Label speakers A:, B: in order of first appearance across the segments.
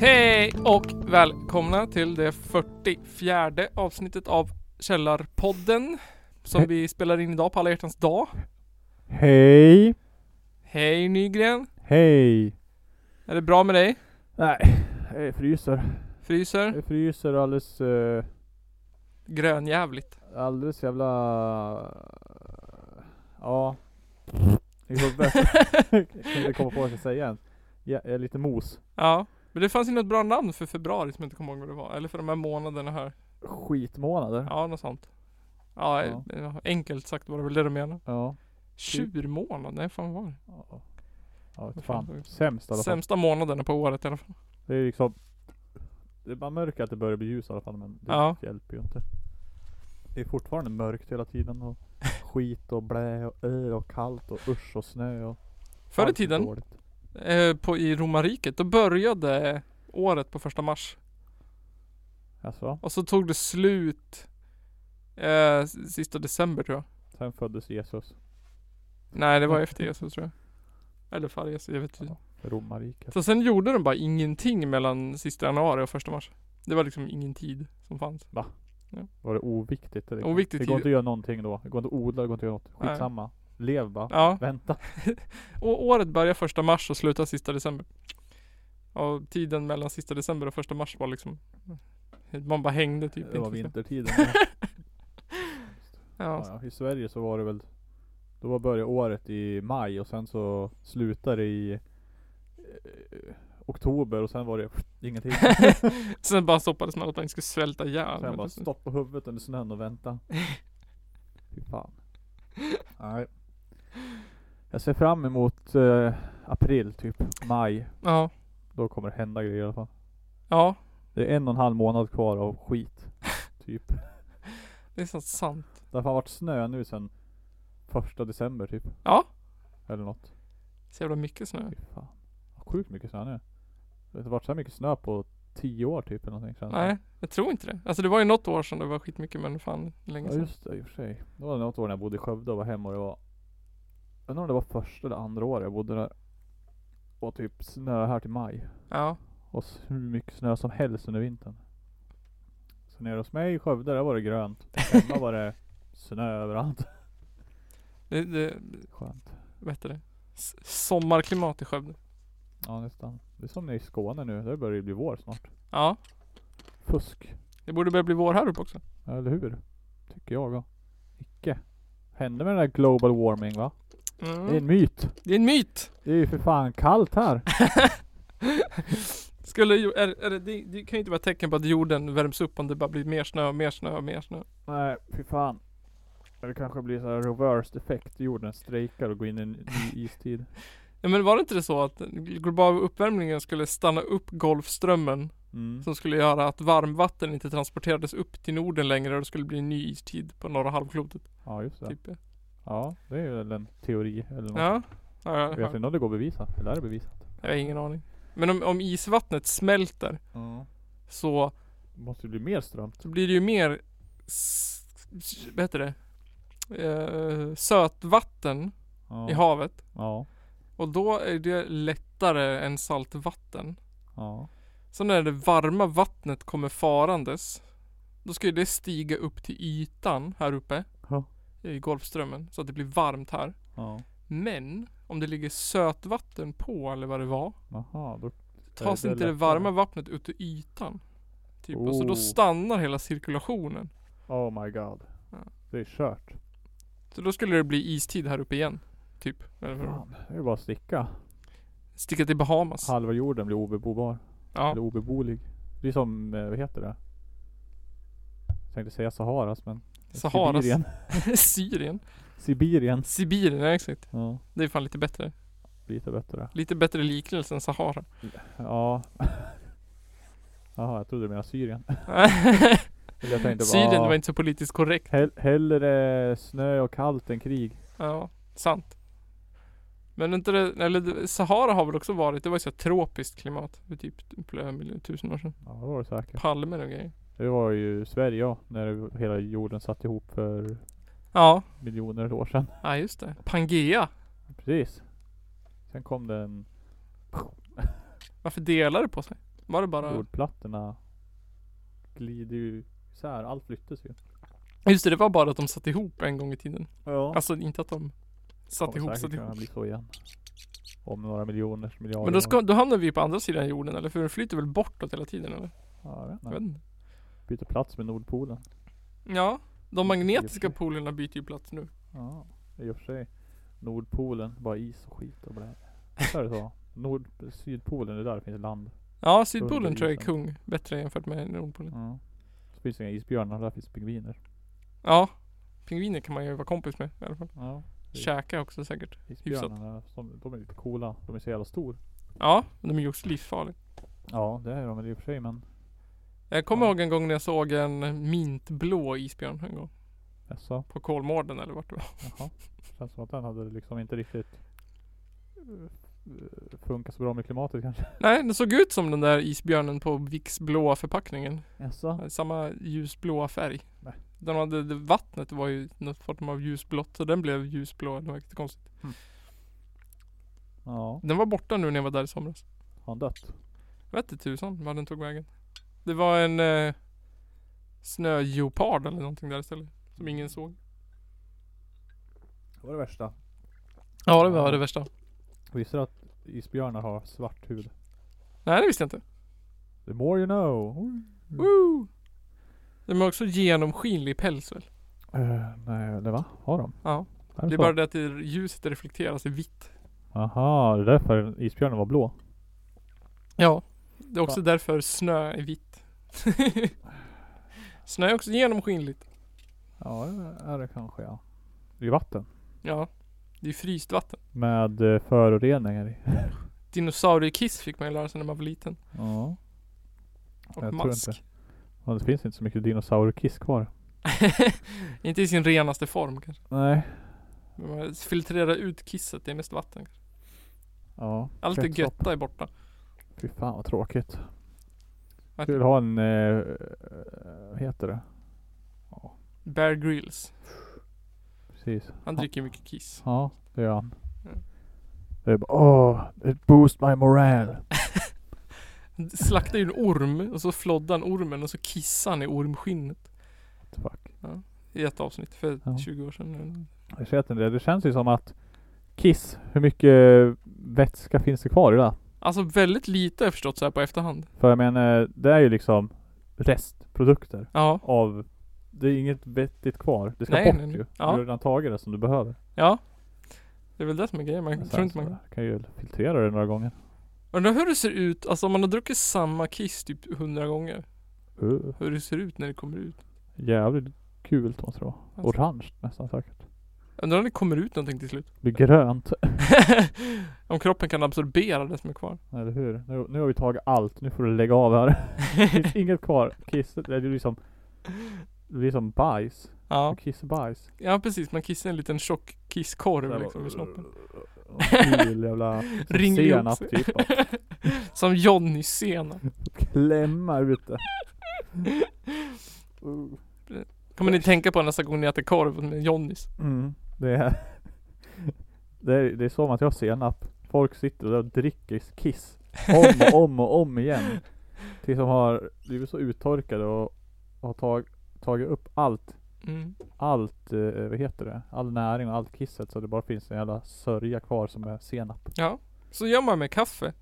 A: Hej och välkomna till det 44 avsnittet av Källarpodden som vi spelar in idag på alla hjärtans dag.
B: Hej!
A: Hej Nygren!
B: Hej!
A: Är det bra med dig?
B: Nej, jag fryser.
A: Fryser?
B: Jag fryser alldeles, eh,
A: Grönjävligt.
B: alldeles jävla... Ja. Jag kom på- jag kan inte komma på vad jag ska säga än. Ja, jag är lite mos.
A: Ja. Men det fanns ju något bra namn för februari som jag inte kommer ihåg vad det var. Eller för de här månaderna här.
B: Skitmånader.
A: Ja, något sånt. Ja, Typ.
B: Ja.
A: eh, enkelt sagt var det väl det de menade.
B: Ja.
A: Tjurmånad? Nej, fan vad var det?
B: Ja. Ja, vet fan. Sämst i alla fall.
A: Sämsta månaderna på året i alla fall.
B: Det är liksom... Det är bara mörkt att det börjar bli ljus i alla fall men det
A: Ja.
B: hjälper ju inte. Det är fortfarande mörkt hela tiden och skit och blä och ö och kallt och usch och snö och...
A: Förr i
B: allt är
A: tiden,
B: dåligt.
A: eh, på, i romarriket, då började året på första mars.
B: Alltså,
A: Och så tog det slut eh, s- sista december tror jag.
B: sen föddes Jesus.
A: Nej det var efter Jesus tror jag. Eller före Jesus, jag vet inte.
B: Ja. Romarriket.
A: Så sen gjorde de bara ingenting mellan sista januari och första mars. Det var liksom ingen tid som fanns.
B: Var det oviktigt? Eller?
A: Oviktig
B: det går
A: tid.
B: inte att göra någonting då. Det går inte att odla, det går inte att göra något.
A: Nej.
B: Skitsamma. Lev bara.
A: Ja,
B: Vänta.
A: och året börjar första mars och slutar sista december. Och tiden mellan sista december och första mars var liksom Man bara hängde typ.
B: det var
A: inte vet
B: vintertiden.
A: jag. Ja,
B: ja, ja. I Sverige så var det väl då var började året i maj och sen så slutade det i eh, oktober och sen var det ingenting.
A: Sen bara stoppades man att man inte skulle svälta ihjäl. Liksom.
B: sen bara
A: Men-
B: stopp på huvudet under snön och vänta. Fy fan. Nej. Jag ser fram emot eh, april typ. Maj.
A: Ja,
B: Då kommer det hända grejer i alla fall.
A: ja,
B: Det är en och en halv månad kvar av skit. Typ.
A: det är så sant.
B: Det har fan varit snö nu sen första december typ.
A: Ja.
B: Eller något.
A: Så jävla mycket snö.
B: Fy fan. Sjukt mycket snö nu. Det har inte varit så här mycket snö på tio år typ eller någonting. känns det.
A: Nej, jag tror inte det. Alltså det var ju något år sedan det var skitmycket men fan länge
B: Ja
A: sedan.
B: just det, i och för sig. Det var något år när jag bodde i Skövde och var hemma och det var Jag undrar om det var första eller andra året jag bodde där. Och typ snö här till maj.
A: Ja.
B: Och s- hur mycket snö som helst under vintern. Så nere hos mig i Skövde, där var det grönt. Hemma var det snö överallt.
A: Det, det,
B: Skönt.
A: vad heter det? S- sommarklimat i Skövde.
B: Ja nästan. Det är som nere i Skåne nu. Där börjar det bli vår snart.
A: Ja.
B: Fusk.
A: Det borde börja bli vår här uppe också.
B: Eller hur? Tycker jag. ja. Icke. Hände med den där global warming va? Det är en
A: Mm.
B: myt.
A: Det är en myt.
B: Det är ju för fan kallt här.
A: Skulle ju, är, är det, det, det kan ju inte vara ett tecken på att jorden värms upp om det bara blir mer snö och mer snö och mer snö.
B: Nej, fy fan. Det kanske blir så här reversed effekt. Jorden strejkar och går in i en ny istid.
A: Ja, men var det inte det så att global uppvärmningen skulle stanna upp Golfströmmen
B: Mm.
A: som skulle göra att varmvatten inte transporterades upp till Norden längre och det skulle bli en ny istid på norra halvklotet.
B: Ja just det.
A: Typ. Ja.
B: Ja, det är väl en teori eller något.
A: Ja, ja, jag har
B: Vet
A: hört.
B: inte om det går att bevisa? Eller är det bevisat?
A: Jag har ingen aning. Men om, om isvattnet smälter
B: Ja.
A: så,
B: Det måste ju bli mer strömt.
A: så blir det ju mer, s- s- vad heter det? Eh, sötvatten
B: Ja.
A: i havet.
B: Ja.
A: Och då är det lättare än saltvatten.
B: Ja.
A: Så när det varma vattnet kommer farandes, då ska ju det stiga upp till ytan här uppe
B: Ja.
A: i Golfströmmen. Så att det blir varmt här.
B: ja.
A: Men om det ligger sötvatten på eller vad det var.
B: Jaha, då
A: tas
B: det
A: inte det
B: lättare?
A: varma vattnet ut ur ytan. Typ. Och så då
B: Oh.
A: stannar hela cirkulationen.
B: Oh my god.
A: Ja.
B: Det är kört.
A: Så då skulle det bli istid här uppe igen. Typ. Eller vad det var.
B: Fan, det är bara att sticka.
A: Sticka till Bahamas.
B: Halva jorden blir obebobar.
A: Ja.
B: Eller obeboelig. Det är som, eh, vad heter det? Jag tänkte säga Saharas men
A: Saharas.
B: Sibirien.
A: Syrien.
B: Sibirien.
A: Sibirien, ja exakt.
B: Ja,
A: Det är fan lite bättre.
B: lite bättre.
A: Lite bättre liknelse än Sahara.
B: Ja. Jaha, jag trodde du menade Syrien. Eller jag tänkte bara,
A: Syrien
B: ah,
A: var inte så politiskt korrekt.
B: hell, hellre snö och kallt än krig.
A: Ja, sant. Men inte det, eller det- Sahara har väl också varit, det var ju så här tropiskt klimat för typ flera miljoner tusen år sedan.
B: Ja, det var det säkert.
A: Palmer och grejer.
B: Det var ju Sverige ja, när hela jorden satt ihop för
A: Ja,
B: miljoner år sedan.
A: ja just det. Pangea.
B: Precis. Sen kom den
A: Varför delar det på sig? Var det bara...
B: jordplattorna glider ju isär. Allt flyttas ju.
A: Just det, det var bara att de satt ihop en gång i tiden.
B: Ja.
A: Alltså inte att de satt ihop, satt ihop.
B: bli så igen. Om några miljoner, miljarder.
A: Men då, ska,
B: år.
A: då hamnar vi på andra sidan jorden eller? För den flyter väl bortåt hela tiden eller?
B: Ja, jag vet
A: Jag
B: inte.
A: vet inte.
B: Byta plats med Nordpolen.
A: Ja. De magnetiska
B: I och för sig.
A: polerna byter ju plats nu.
B: Ja, i och för sig. Nordpolen, bara is och skit och blä. Så är det så. Nord, sydpolen, det är där det finns land.
A: Ja, Sydpolen tror jag är
B: isen.
A: kung. Bättre jämfört med Nordpolen.
B: Ja. Så finns det inga isbjörnar, där finns pingviner.
A: Ja. Pingviner kan man ju vara kompis med i alla fall.
B: Ja. Precis.
A: Käka också säkert.
B: Isbjörnarna, de, de är lite coola. De är så jävla stor.
A: Ja, men de är ju också livsfarliga.
B: Ja, det är de väl i och för sig men.
A: Jag kommer
B: Ja.
A: ihåg en gång när jag såg en mintblå isbjörn en gång.
B: Jaså?
A: På Kolmården eller vart det var.
B: Jaha. Känns som att den hade liksom inte riktigt eh, eh, funkat så bra med klimatet kanske.
A: Nej, den såg ut som den där isbjörnen på Vicks blåa förpackningen.
B: Jaså?
A: Samma ljusblåa färg.
B: Nej.
A: Den hade, det- vattnet var ju något form av ljusblått så den blev ljusblå. Det var riktigt konstigt.
B: Ja.
A: Den var borta nu när jag var där i somras.
B: Har han dött?
A: Jag vet inte tusan var den tog vägen. Det var en eh, snögeopard eller någonting där istället. Som ingen såg.
B: Det var det värsta.
A: Ja det var det värsta.
B: Visste du att isbjörnar har svart hud?
A: Nej det visste jag inte.
B: The more you know.
A: Woo! De har också genomskinlig päls väl?
B: Eh, nej, det va? Har de?
A: Ja.
B: Är
A: Det
B: så?
A: är bara det att det, ljuset reflekteras i vitt.
B: Aha, det är därför isbjörnen var blå.
A: Ja. Det är också därför snö är vitt. snö är också genomskinligt.
B: Ja, det är det kanske ja. I vatten.
A: Ja. Det är fryst vatten.
B: Med eh, föroreningar i.
A: Dinosauriekiss fick man ju lära sig när man var liten.
B: Ja.
A: Och
B: Jag tror
A: mask.
B: inte. Ja, det finns inte så mycket dinosaurkiss kvar.
A: Inte. i sin renaste form kanske.
B: Nej.
A: Men man filtrerar ut kisset, det är mest vatten.
B: Ja.
A: Allt det
B: kretslopp.
A: götta är borta.
B: Fy fan vad tråkigt.
A: Vad
B: Kul
A: heter
B: att ha en, eh, vad heter det?
A: Bear Grylls.
B: Precis.
A: Han
B: Ja.
A: dricker mycket kiss.
B: Ja, det gör han.
A: Mm.
B: Det är bara, åh, it boost my morale.
A: Han slaktar ju en orm och så floddar han ormen och så kissar han i ormskinnet.
B: What the fuck.
A: I ett avsnitt för
B: Ja.
A: 20 år sedan.
B: Jag vet inte, det känns ju som att Kiss, hur mycket vätska finns det kvar i det?
A: Alltså väldigt lite har jag förstått så här på efterhand.
B: För jag menar, det är ju liksom restprodukter
A: Ja.
B: av det är inget vettigt kvar. Det ska
A: Nej,
B: bort
A: nej, nej.
B: ju.
A: Ja.
B: Du har redan tagit det som du behöver.
A: Ja. Det är väl det som är grejen. Man
B: Men
A: tror
B: sen
A: inte man
B: så kan ju filtrera det några gånger.
A: Undrar hur det ser ut, alltså om man har druckit samma kiss typ hundra gånger.
B: Uh,
A: Hur det ser ut när det kommer ut.
B: jävligt kul måste det vara.
A: Alltså.
B: Orange nästan säkert.
A: Undrar om det kommer ut någonting till slut.
B: Blir grönt.
A: om kroppen kan absorbera det som är kvar.
B: Eller hur? Nu, nu har vi tagit allt. Nu får du lägga av här. Det finns inget kvar. Kiss, det är ju liksom Det blir som bajs.
A: ja.
B: Kiss och bajs.
A: ja, precis. Man kissar en liten tjock kisskorv liksom i snoppen.
B: Kul jävla som
A: Ringer ju upp
B: senap
A: sig.
B: typ. Bara
A: Som Johnny Senap.
B: Klämma ut det.
A: Kommer ni tänka på nästa gång ni äter korv med Johnnys?
B: Mm, det är Det är, det är som att jag har senap. Folk sitter där och dricker kiss. Om och om och om igen. Tills de har blivit så uttorkade och har tag, tagit upp allt
A: Mm.
B: allt, eh, vad heter det, all näring och allt kisset så det bara finns en jävla sörja kvar som är senap.
A: Ja. Så gör man med kaffe.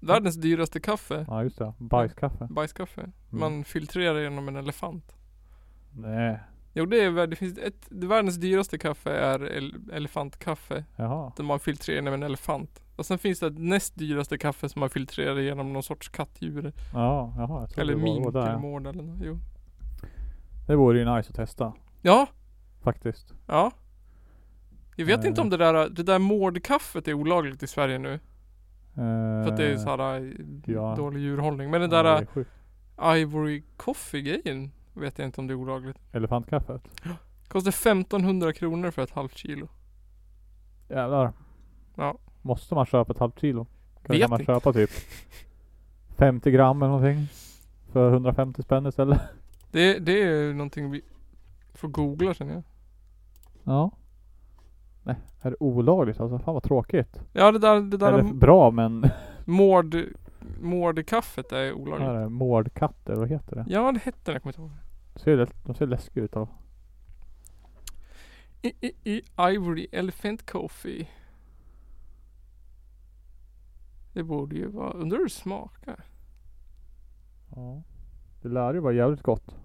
A: Världens dyraste kaffe.
B: Ja just det, bajskaffe.
A: Bajskaffe.
B: Mm.
A: Man filtrerar genom en elefant.
B: Nej,
A: Jo det är väl- det finns ett, det världens dyraste kaffe är el, elefantkaffe.
B: jaha.
A: Där man filtrerar genom en elefant. Och sen finns det ett näst dyraste kaffe som man filtrerar genom någon sorts kattdjur.
B: Ja, jaha. Jag trodde
A: Eller
B: det var- var
A: mink eller
B: där.
A: mård eller något. Jo.
B: Det vore ju nice att testa
A: Ja,
B: faktiskt.
A: ja. Jag vet
B: Eh.
A: inte om det där, det där mårdkaffet är olagligt i Sverige nu. För att det är såhär äh,
B: ja.
A: dålig djurhållning. Men den
B: Eh, Ja,
A: där eh,
B: är sjukt.
A: äh, Ivory Coffee grejen vet jag inte om det är olagligt.
B: Elefantkaffet.
A: Kostar 1500 kronor för ett halvt kilo.
B: Jävlar.
A: Ja.
B: Måste man köpa ett halvt kilo? Kan
A: Vet
B: man
A: inte.
B: köpa typ 50 gram eller någonting? för 150 spänn istället.
A: Det, det är ju någonting vi får googla känner jag.
B: Ja. Nej, är det olagligt alltså? Fan vad tråkigt.
A: Ja det där, det där
B: Eller
A: m-
B: bra men,
A: mård, mårdkaffet är olagligt.
B: här är mårdkatter, vad heter det?
A: Ja det hette det, jag kommer inte ihåg.
B: Ser ju lätt- de ser läskiga ut. Av.
A: I, I, I, Ivory Elephant Coffee. Det borde ju vara, undrar hur det smakar.
B: Ja. Det lär ju vara jävligt gott.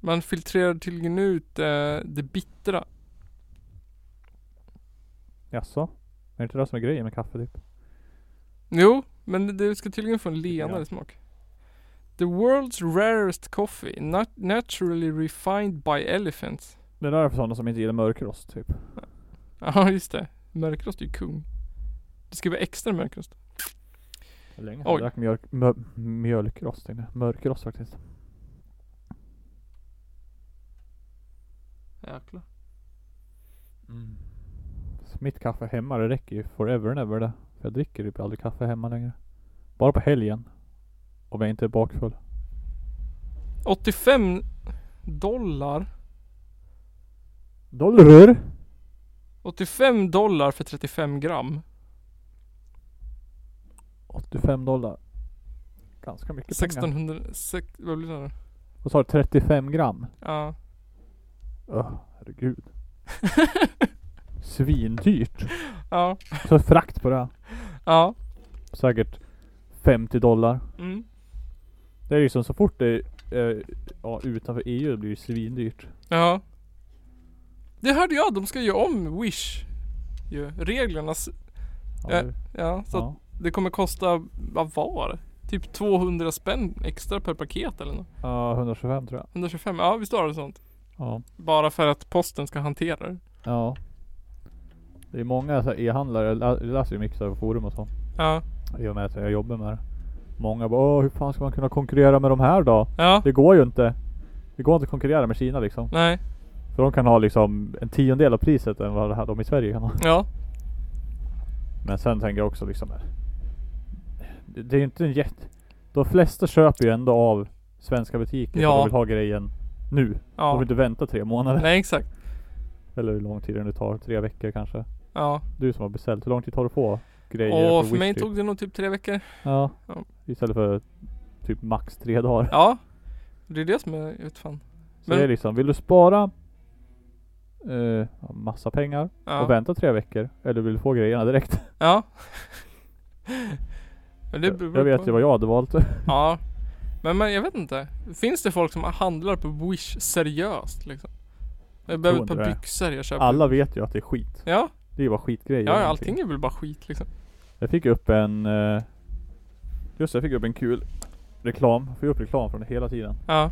A: Man filtrerar tydligen ut eh, det bittra.
B: Jaså? Är det inte det som är grejen med kaffe typ?
A: Jo, men det ska tydligen få en lenare
B: Ja.
A: smak. The world's rarest coffee, nat- naturally refined by elephants.
B: Det där är för sådana som inte gillar mörkrost typ.
A: Ja, just det. Mörkrost är ju kung. Det ska vara extra mörkrost.
B: Det var länge
A: Oj.
B: sedan jag drack mjölk, mö, mjölkrost tänkte jag. Mörkrost faktiskt.
A: Jäklar.
B: Så Mitt kaffe hemma det räcker ju forever and ever det. För jag dricker typ aldrig kaffe hemma längre. Bara på helgen. Om jag inte är bakfull.
A: 85 dollar.
B: Dollar!
A: 85 dollar för 35 gram.
B: 85 dollar. Ganska mycket pengar.
A: 1600, sex, vad blir det nu?
B: Vad sa du? 35 gram?
A: Ja.
B: Öh, herregud. Svindyrt.
A: Ja.
B: Så frakt på det. här.
A: Ja.
B: Säkert 50 dollar.
A: Mm.
B: Det är liksom så fort det är eh, ja, utanför EU blir det svindyrt.
A: Ja. Det hörde jag, de ska göra om Wish. Ju, reglerna. s-
B: Ja,
A: Ja,
B: det-
A: Ja, så att
B: ja.
A: det kommer kosta, vad var det? Typ 200 spänn extra per paket eller något.
B: ja, 125 tror jag.
A: 125, ja visst har det sånt.
B: Ja.
A: Bara för att posten ska hantera det.
B: ja. Det är många så här e-handlare, jag lä- jag läser ju mycket så här på forum och så.
A: Ja.
B: I och med att jag jobbar med det. Många bara Åh, hur fan ska man kunna konkurrera med de här då?
A: Ja.
B: Det går ju inte. Det går inte att konkurrera med Kina liksom.
A: Nej.
B: För de kan ha liksom en tiondel av priset än vad det här, de i Sverige kan ha.
A: Ja.
B: Men sen tänker jag också liksom eh, Det det är ju inte en jätte... De flesta köper ju ändå av svenska butiker.
A: Ja.
B: Ja. De vill ha grejen nu. De vill
A: Ja.
B: inte vänta tre månader.
A: Nej exakt.
B: Eller hur lång tid det nu tar. Tre veckor kanske.
A: Ja.
B: Du som har beställt. Hur lång tid tar det att få grejer
A: Och
B: på
A: för mig
B: Wish typ?
A: tog det nog typ tre veckor.
B: Ja.
A: Ja.
B: Istället för typ max tre dagar.
A: Ja. Det är det som är, jag vet fan.
B: Så
A: Men-
B: det är liksom, vill du spara eh, massa pengar och
A: Ja.
B: vänta tre veckor? Eller vill du få grejerna direkt?
A: Ja. Men det beror
B: jag vet
A: på.
B: ju vad jag hade valt.
A: Ja. Men, men jag vet inte. Finns det folk som handlar på Wish seriöst liksom? Jag behöver ett
B: inte
A: par
B: det.
A: byxor jag köper.
B: Alla vet ju att det är skit.
A: Ja.
B: Det är ju bara skitgrejer.
A: Ja,
B: och
A: allting är väl bara skit liksom.
B: Jag fick upp en... Eh, just det, jag fick upp en kul reklam. Jag får ju upp reklam från det hela tiden.
A: Ja.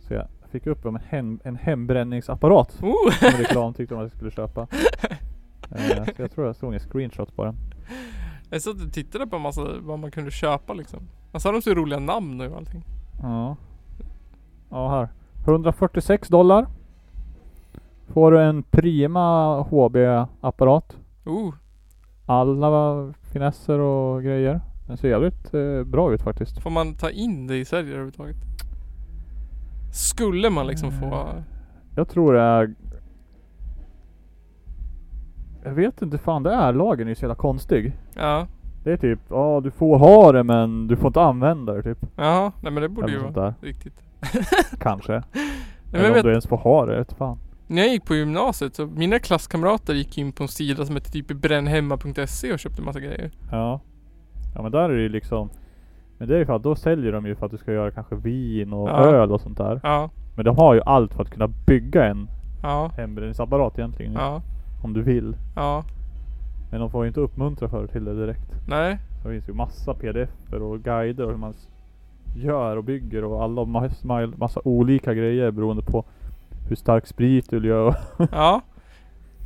B: Så jag fick upp om en, hem, en hembränningsapparat. Som
A: Oh!
B: reklam tyckte de att jag skulle köpa. Eh, så jag tror jag såg en screenshot på den.
A: Jag satt och tittade på en massa vad man kunde köpa liksom. Och så har de så roliga namn nu och allting.
B: Ja. Ja här. 146 dollar. Får du en Prima HB-apparat.
A: Oh!
B: Alla finesser och grejer. Den ser jävligt eh, bra ut faktiskt.
A: Får man ta in det i Sverige överhuvudtaget? Skulle man liksom få...
B: Jag tror det är... Jag vet inte fan det är. Lagen är ju så jävla konstig.
A: Ja.
B: Det är typ, ja du får ha det men du får inte använda det typ.
A: Ja. Nej men det borde
B: Eller
A: ju
B: sånt
A: vara
B: där.
A: riktigt.
B: Kanske.
A: Nej, men
B: Eller
A: jag
B: om
A: vet,
B: du ens får ha det, jag vet fan.
A: När jag gick på gymnasiet så mina klasskamrater gick in på en sida som hette typ brännhemma.se och köpte massa grejer.
B: Ja. Ja men där är det ju liksom Men det är ju för att då säljer de ju för att du ska göra kanske vin och
A: Ja.
B: öl och sånt där.
A: Ja.
B: Men de har ju allt för att kunna bygga en
A: Ja.
B: hembränningsapparat egentligen.
A: Ja.
B: Om du vill.
A: Ja.
B: Men de får ju inte uppmuntra för till det direkt.
A: Nej.
B: Det finns ju massa pdf-er och guider och hur man s- gör och bygger och alla ma- massa olika grejer beroende på hur stark sprit du vill göra.
A: Ja.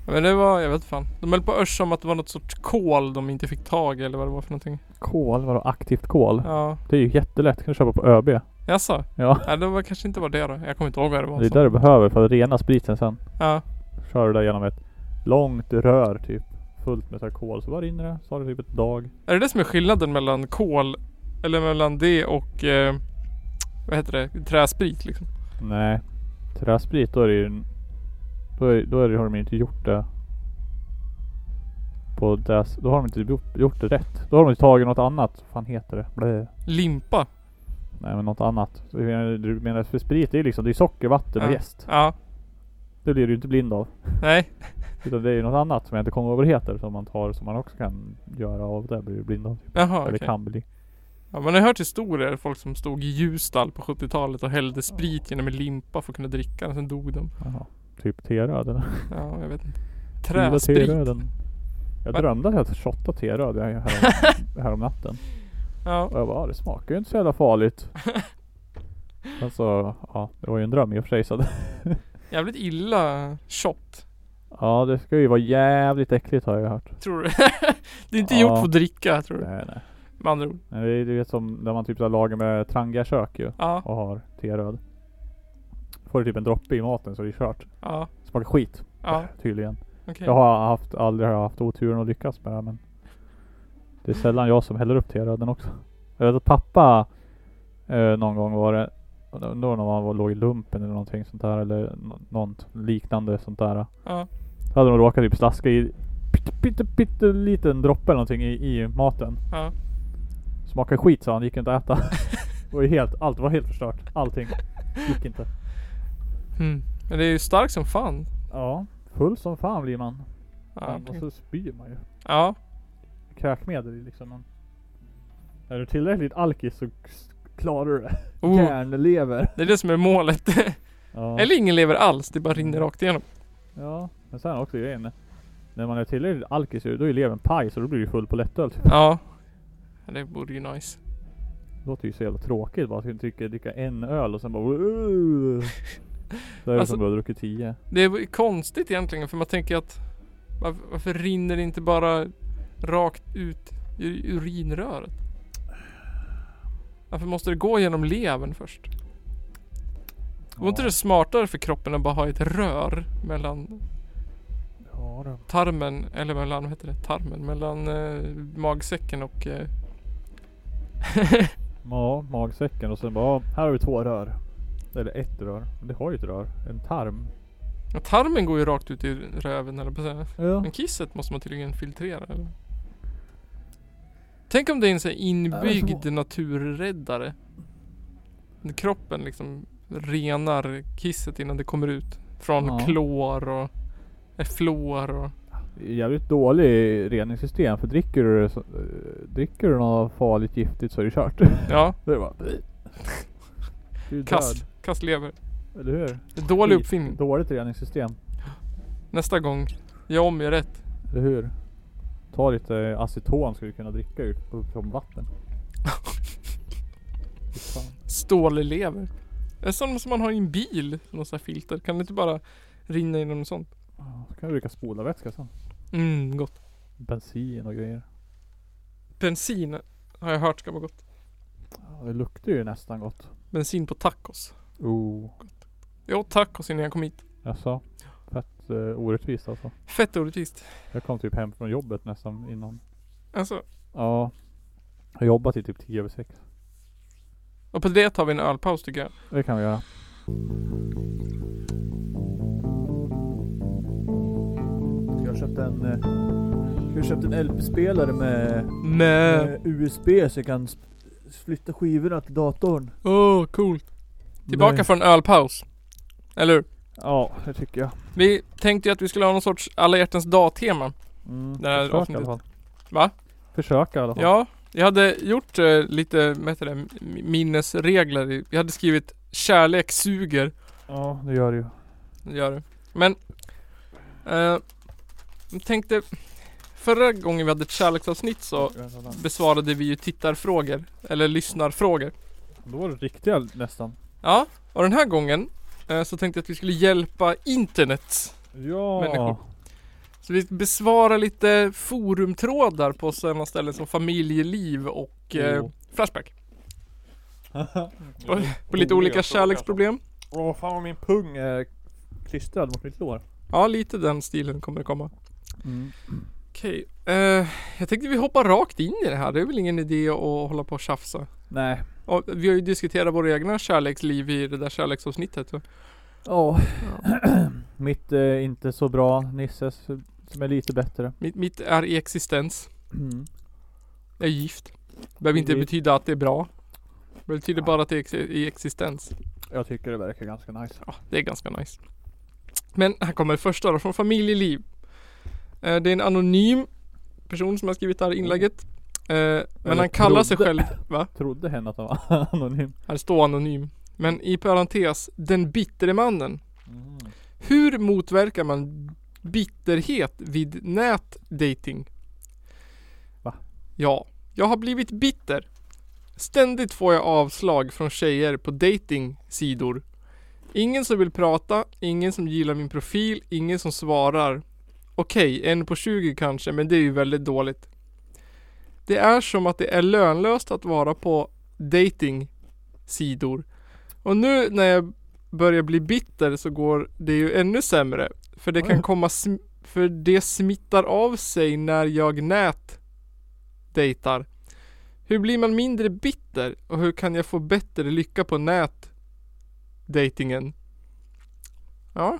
A: Men det var, jag vet fan. De höll på att örsa om att det var något sorts kol de inte fick tag i eller vad det var för någonting.
B: Kol, vadå aktivt kol?
A: Ja.
B: Det är ju jättelätt, kan du köpa på ÖB.
A: Jaså?
B: Ja.
A: Ja, det var kanske inte var det då. Jag kommer inte ihåg vad det var.
B: Det är
A: så.
B: det du behöver för att rena spriten sen.
A: Ja.
B: kör du det genom ett långt rör typ. Fullt med så här kol. Så bara rinner det. Så har du typ ett dag.
A: Är det det som är skillnaden mellan kol, eller mellan det och eh, vad heter det, träsprit liksom.
B: Nej. Träsprit, då är det ju... en- Då, är, då är det, har de inte gjort det. På det, då har de inte gjort, gjort det rätt. Då har de inte tagit något annat. Vad fan heter det? Blä.
A: Limpa.
B: Nej men något annat. Du menar, du menar för sprit det är ju liksom, det är socker, vatten och
A: Ja.
B: jäst.
A: Ja.
B: Det blir du ju inte blind av.
A: Nej.
B: Utan det är ju något annat som jag inte kommer ihåg vad det heter. Som man tar, som man också kan göra av. Där blir du blind av. Typ.
A: Jaha
B: Eller
A: okej.
B: kan bli.
A: Ja, man har hört historier. Folk som stod i Ljusdal på 70-talet och hällde sprit genom en limpa för att kunna dricka den. Sen dog de.
B: Jaha. Typ teröd eller?
A: Ja, jag vet inte.
B: Gilla
A: Träsprit.
B: teröden. Jag
A: Va?
B: drömde att jag shottade teröd här, här, här om natten.
A: Ja.
B: Och jag bara, det smakar ju inte så jävla farligt. alltså, ja, det var ju en dröm i och för sig. Så att,
A: Jävligt illa shot.
B: ja, det ska ju vara jävligt äckligt har jag hört.
A: Tror du? det är inte
B: Ja.
A: gjort för att dricka tror du.
B: Nej, nej.
A: Med andra ord.
B: Men det är du vet som när man typ så här lagar med trangiakök ju.
A: Ja.
B: Och har teröd. Får du typ en droppe i maten så är det kört.
A: Ja.
B: Smakar skit.
A: Ja.
B: Tydligen.
A: Okej.
B: Jag har haft, aldrig har jag haft oturen att lyckas med det men Det är sällan jag som häller upp teröden också. Jag vet att pappa eh, någon gång var det, då när man var, låg i lumpen eller någonting sånt där eller nå- något liknande sånt där.
A: Ja.
B: Då hade de råkat typ slaska i pytte pytte pytte liten droppe eller någonting i, i maten.
A: Ja.
B: Smakade skit sa han, gick inte att äta. Det var ju helt, allt var helt förstört. Allting. Gick inte.
A: Mm. Men det är ju starkt som fan.
B: Ja, full som fan blir man.
A: Ja.
B: och så spyr man ju.
A: ja.
B: kräkmedel i liksom någon. Är du tillräckligt alkis så s- klarar du det.
A: Oh.
B: Järnlever.
A: Det är det som är målet.
B: Ja.
A: Eller ingen lever alls. Det bara rinner rakt igenom.
B: ja. Men sen också grejen. När man är tillräckligt alkis då är levern paj så då blir du full på lättöl. typ.
A: Ja. Det vore ju nice.
B: Det låter ju så jävla tråkigt bara. Att du dricker, dricka en öl och sen bara uh. Då är det
A: Alltså-
B: som att du har druckit tio.
A: Det är konstigt egentligen för man tänker att varför, varför rinner det inte bara rakt ut ur urinröret? Varför måste det gå genom levern först? Vore inte
B: Ja.
A: det smartare för kroppen att bara ha ett rör mellan
B: Ja, då.
A: tarmen, eller mellan, vad heter det, tarmen, mellan eh, magsäcken och... Eh,
B: ja, magsäcken och sen bara ja, här har vi två rör. Eller ett rör. Men det har ju ett rör. En tarm.
A: ja, tarmen går ju rakt ut i röven eller på att säga.
B: Ja.
A: Men kisset måste man tydligen filtrera eller? Tänk om det är en sån här inbyggd naturräddare. När Kroppen liksom renar kisset innan det kommer ut. Från
B: Ja.
A: klor och eh, fluor och...
B: Jävligt dålig reningssystem för dricker du, det så- eh, dricker du något farligt giftigt så är det kört.
A: Ja,
B: Då är det bara... Du är
A: kast,
B: död,
A: kastlever.
B: eller hur?
A: Det är Dålig
B: Skit.
A: uppfinning.
B: Dåligt reningssystem,
A: Nästa gång, gör om, gör rätt.
B: eller hur? Ta lite aceton skulle du kunna dricka ut från vatten. Fy fan.
A: Stållever. Det är sånt som man har i en bil. Någon sån här filter. Kan det inte bara rinna genom något sånt?
B: Ja, Så kan du dricka spolarvätska sen.
A: Mm, gott.
B: Bensin och grejer.
A: Bensin har jag hört ska vara gott.
B: Ja, Det luktar ju nästan gott.
A: Bensin på tacos.
B: Oh.
A: Jag åt tacos innan jag kom hit.
B: Jaså? Fett eh, orättvist alltså.
A: Fett orättvist.
B: Jag kom typ hem från jobbet nästan innan.
A: Alltså,
B: Ja. Jag har jobbat i typ 10 över 6.
A: och på det tar vi en ölpaus tycker jag.
B: Det kan vi göra. Jag köpte en, eh, jag köpte en LP-spelare med,
A: Nej.
B: med USB så jag kan sp- flytta skivorna till datorn.
A: Åh, oh, coolt. Tillbaka från ölpaus. Eller hur?
B: Ja, det tycker jag.
A: Vi tänkte ju att vi skulle ha någon sorts alla hjärtans dag-tema.
B: Mm,
A: Det här
B: försök i alla
A: avsnittet.
B: fall.
A: Va?
B: Försöka i alla fall.
A: Ja, jag hade gjort eh, lite, vad heter det, m- minnesregler. i- Jag hade skrivit kärlek suger.
B: ja det gör det ju.
A: Det gör det. Men, eh, jag tänkte, förra gången vi hade ett kärleksavsnitt så besvarade vi ju tittarfrågor. Eller lyssnarfrågor.
B: Då var det riktiga nästan.
A: Ja, och den här gången eh, så tänkte jag att vi skulle hjälpa internet.
B: Ja.
A: Människor. Så vi besvarar lite forumtrådar på sådana ställen som familjeliv och eh,
B: Jo.
A: Flashback.
B: Jo,
A: På, på lite
B: roliga
A: olika
B: frågor,
A: kärleksproblem.
B: Åh fan vad min pung är klistrad mot mitt lår.
A: Ja, lite den stilen kommer det komma.
B: Mm.
A: Okej, eh, jag tänkte vi hoppar rakt in i det här. Det är väl ingen idé att hålla på och tjafsa.
B: Nej,
A: Och vi har ju diskuterat våra egna kärleksliv i det där kärleksavsnittet. så-
B: Ja.
A: Ja.
B: Mitt är inte så bra. Nisses eh, som är lite bättre.
A: Mitt, mitt är i existens.
B: Mm.
A: Jag är gift. Behöver inte
B: Gift.
A: betyda att det är bra. Det betyder
B: Ja.
A: bara att det är ex- i existens.
B: Jag tycker det verkar ganska nice.
A: Ja, det är ganska nice. Men här kommer första då, från familjeliv. Eh, Det är en anonym person som har skrivit det här inlägget. Eh, Men han kallar sig
B: trodde.
A: själv, va?
B: Trodde hen att han var anonym.
A: Här står anonym. Men i parentes, den bittre mannen.
B: Mm.
A: Hur motverkar man bitterhet vid nätdating?
B: Va?
A: Ja, jag har blivit bitter. Ständigt får jag avslag från tjejer på datingsidor. Ingen som vill prata, ingen som gillar min profil, ingen som svarar. Okej, en på 20 kanske, men det är ju väldigt dåligt. Det är som att det är lönlöst att vara på datingsidor. Och nu när jag börjar bli bitter så går det ju ännu sämre. För det kan
B: Oj.
A: komma sm- för det smittar av sig när jag nätdejtar. Hur blir man mindre bitter och hur kan jag få bättre lycka på nätdejtingen? Ja,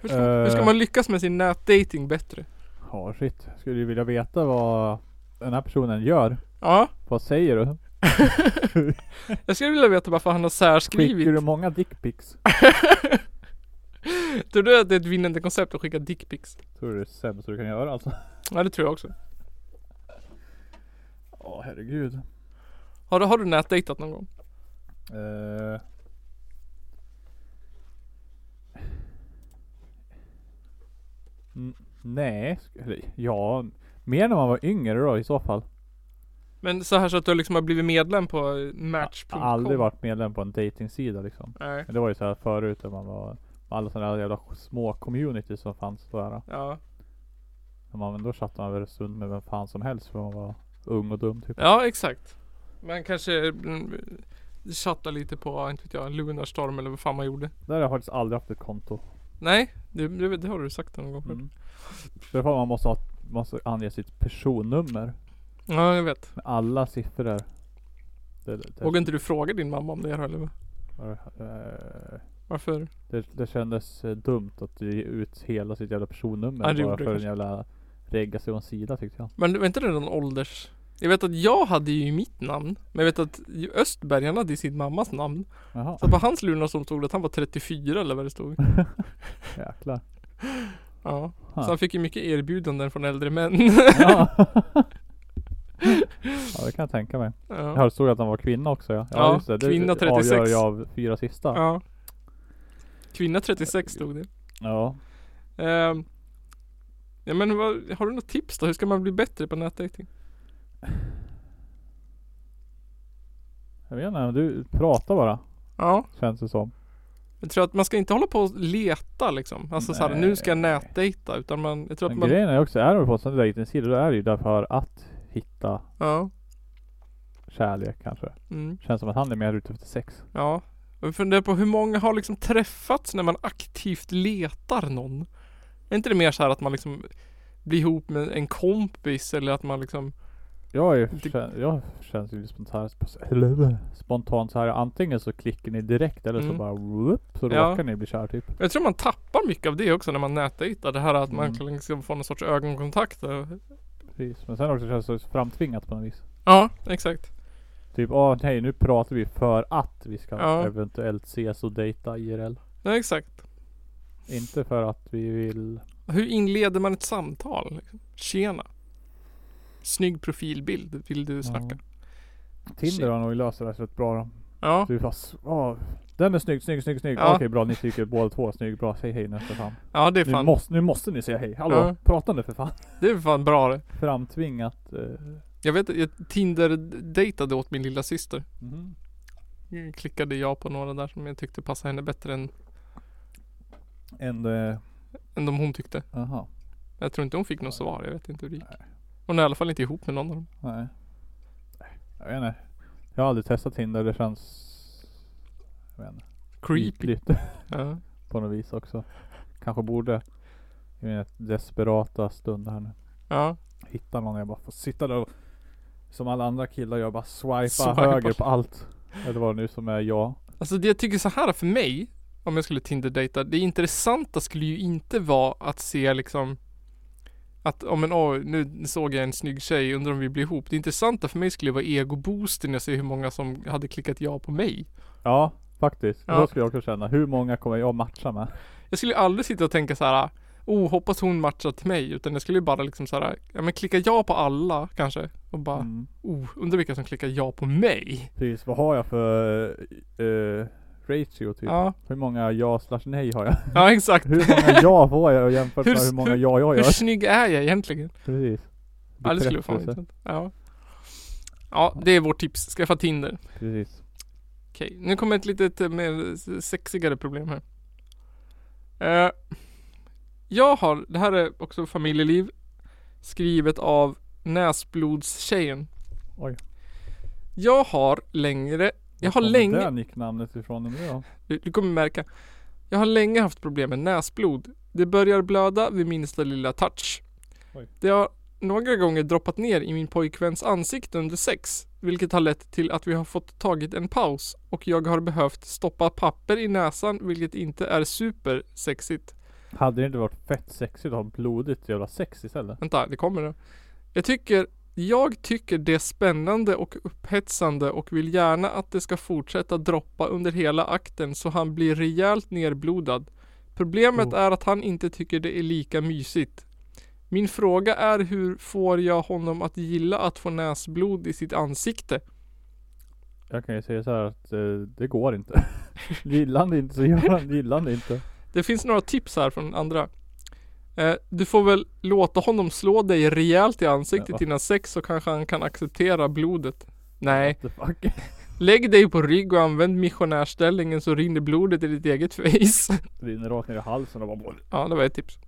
A: hur ska, hur ska
B: Eh.
A: man lyckas med sin nätdating bättre?
B: Ja shit. Skulle ju vilja veta vad den här personen gör.
A: Ja,
B: Vad säger du?
A: jag skulle vilja veta varför han har särskrivit.
B: Skickar du många dickpics?
A: Tror du att det är ett vinnande koncept att skicka dickpics?
B: Tror du det är det sämsta du kan göra alltså?
A: Ja, det tror jag också.
B: Ja herregud.
A: Har du, har du nätdejtat någon gång?
B: Eh. N- nej, sk- eller ja, mer när man var yngre då i så fall.
A: Men så här så att du liksom har blivit medlem på eh,
B: Jag
A: Match.com?
B: har aldrig varit medlem på en datingsida liksom.
A: Nej,
B: Men det var ju så här förut när man var alla sådana där jävla små communities som fanns där.
A: ja.
B: När man, då satt man väl en stund med vem fan som helst för man var ung och dum typ.
A: ja, exakt. Man kanske mm, chattar lite på, inte vet jag, Lunarstorm eller vad fan man gjorde.
B: Där har jag faktiskt aldrig haft ett konto.
A: Nej, det, det, det har du sagt någon gång förut.
B: Mm. Så det är för att man måste, ha, måste ange sitt personnummer. Mm.
A: Ja, jag vet.
B: Med alla siffror. Det, det, det,
A: Vågar inte du fråga din mamma om det här eller? vad?
B: Eh,
A: Varför?
B: Det, det kändes eh, dumt att ge ut hela sitt jävla personnummer
A: Ja, det
B: bara
A: gjorde
B: för en
A: kanske.
B: jävla regga sig och en sida tyckte jag.
A: Men var inte det någon ålders... Jag vet att jag hade ju mitt namn. Men jag vet att Östberg han hade ju sin mammas namn.
B: Jaha,
A: Så Alltså, på hans Lunarstorm stod det att han var 34 eller vad det stod.
B: jäklar.
A: Ja.
B: Ha.
A: Så han fick ju mycket erbjudanden från äldre män.
B: Ja. ja det kan jag tänka mig. Jag
A: ja.
B: hörde stod att han var kvinna också ja.
A: Ja,
B: det. Det
A: kvinna 36.
B: avgör jag av fyra sista.
A: ja. Kvinna 36 stod det.
B: Ja.
A: Ehm, ja men vad, har du något tips då? Hur ska man bli bättre på nätdating?
B: Jag vet inte, du pratar bara.
A: Ja.
B: Känns det som.
A: Jag tror att man ska inte hålla på och leta liksom. Alltså såhär, nu ska jag
B: Nej.
A: nätdejta. Utan man, jag tror att
B: Men
A: man...
B: grejen är också, är du på en sån där sida då är det ju därför att hitta
A: Ja.
B: kärlek kanske.
A: Mm,
B: Känns som att han är mer ute efter sex.
A: ja. Jag funderar på hur många har liksom träffats när man aktivt letar någon? Är inte det mer så här att man liksom blir ihop med en kompis eller att man liksom
B: Jag, är,
A: Det-
B: kän- jag känns ju spontant, spontant så här. Antingen så klickar ni direkt eller
A: Mm.
B: så bara whoop, så
A: Ja.
B: råkar ni bli kär typ.
A: Jag tror man tappar mycket av det också när man nätdejtar. Det här att man
B: Mm.
A: liksom får någon sorts ögonkontakt.
B: Precis. Men sen också känns det så framtvingat på något vis.
A: Ja, exakt.
B: Typ, ah, nej nu pratar vi för att vi ska
A: Ja.
B: eventuellt ses och dejta IRL.
A: Ja, exakt.
B: Inte för att vi vill...
A: Hur inleder man ett samtal? liksom? Tjena. Snygg profilbild. Vill du snacka?
B: Tinder har nog löst det där rätt bra då.
A: Ja.
B: Du bara, s- ah, den är snygg, snygg, snygg, snygg.
A: Ja.
B: Okej bra, ni tycker båda två är snygg, bra, säg hej nästa fan.
A: ja, det är
B: Nu,
A: fan,
B: måste, nu måste ni säga hej, hallå,
A: Ja.
B: prata nu för fan.
A: det är fan bra det.
B: Framtvingat. Eh,
A: Jag vet att jag Tinder-dejtade åt min lilla syster.
B: mhm.
A: Klickade jag på några där som jag tyckte passade henne bättre än,
B: Ändå, eh,
A: än de hon tyckte.
B: aha.
A: Jag tror inte hon fick något svar. Jag vet inte hur det gick. Hon är i alla fall inte ihop med någon av dem.
B: Nej. Jag vet inte. Jag har aldrig testat Tinder. Det känns... Jag vet inte.
A: Creepy.
B: ytligt
A: Ja.
B: på något vis också. Kanske borde i mina desperata stunder här nu.
A: ja.
B: Hitta någon jag bara får sitta där och som alla andra killar gör bara swipa
A: Swipa.
B: höger på allt. Eller vad det nu som är jag.
A: Alltså det jag tycker så här för mig, om jag skulle Tinder-dejta, det intressanta skulle ju inte vara att se liksom att, om men åh, nu såg jag en snygg tjej, undrar om vi blir ihop. Det intressanta för mig skulle vara egoboosten när jag ser hur många som hade klickat ja på mig.
B: Ja, faktiskt.
A: Ja.
B: Då skulle jag kunna känna, hur många kommer jag matcha med?
A: Jag skulle ju aldrig sitta och tänka så här, oh hoppas hon matchar till mig, utan jag skulle ju bara liksom så här, ja men klicka ja på alla kanske. Och bara,
B: Mm.
A: oh, undrar vilka som klickar ja på mig.
B: Precis, vad har jag för eh, ratio typ?
A: Ja,
B: Hur många ja slash nej har jag?
A: ja exakt.
B: Hur många ja får jag jämfört
A: Hur
B: med
A: s-
B: hur många ja jag
A: Hur
B: gör?
A: snygg är jag egentligen?
B: Precis.
A: Ja det skulle vara fan
B: Bekräftelse.
A: intressant. Ja. Ja, det är vårt tips. Skaffa Tinder.
B: Precis.
A: Okej, nu kommer ett litet eh, mer sexigare problem här. Eh, jag har, det här är också familjeliv, skrivet av Näsblodstjejen.
B: Oj.
A: Jag har längre, jag har
B: Var kommer
A: länge,
B: det nicknamnet ifrån nu då?
A: du, du kommer märka, jag har länge haft problem med näsblod. Det börjar blöda vid minsta lilla touch.
B: Oj.
A: Det har några gånger droppat ner i min pojkväns ansikte under sex, vilket har lett till att vi har fått tagit en paus och jag har behövt stoppa papper i näsan, vilket inte är supersexigt.
B: Hade det inte varit fett sexigt att ha blodigt jävla sex istället?
A: Vänta, det kommer nu. Jag tycker, jag tycker det är spännande och upphetsande och vill gärna att det ska fortsätta droppa under hela akten så han blir rejält nerblodad. Problemet
B: Oh.
A: är att han inte tycker det är lika mysigt. Min fråga är hur får jag honom att gilla att få näsblod i sitt ansikte?
B: Jag kan ju säga så här att eh, det går inte. gillar han det inte så gör han gillar han det inte.
A: Det finns några tips här från andra. Eh, du får väl låta honom slå dig rejält i ansiktet
B: Ja.
A: innan sex så kanske han kan acceptera blodet. Nej,
B: What the fuck?
A: lägg dig på rygg och använd missionärställningen så rinner blodet i ditt eget face.
B: Rinner rakt ner i halsen och bara
A: ja, det var ett tips.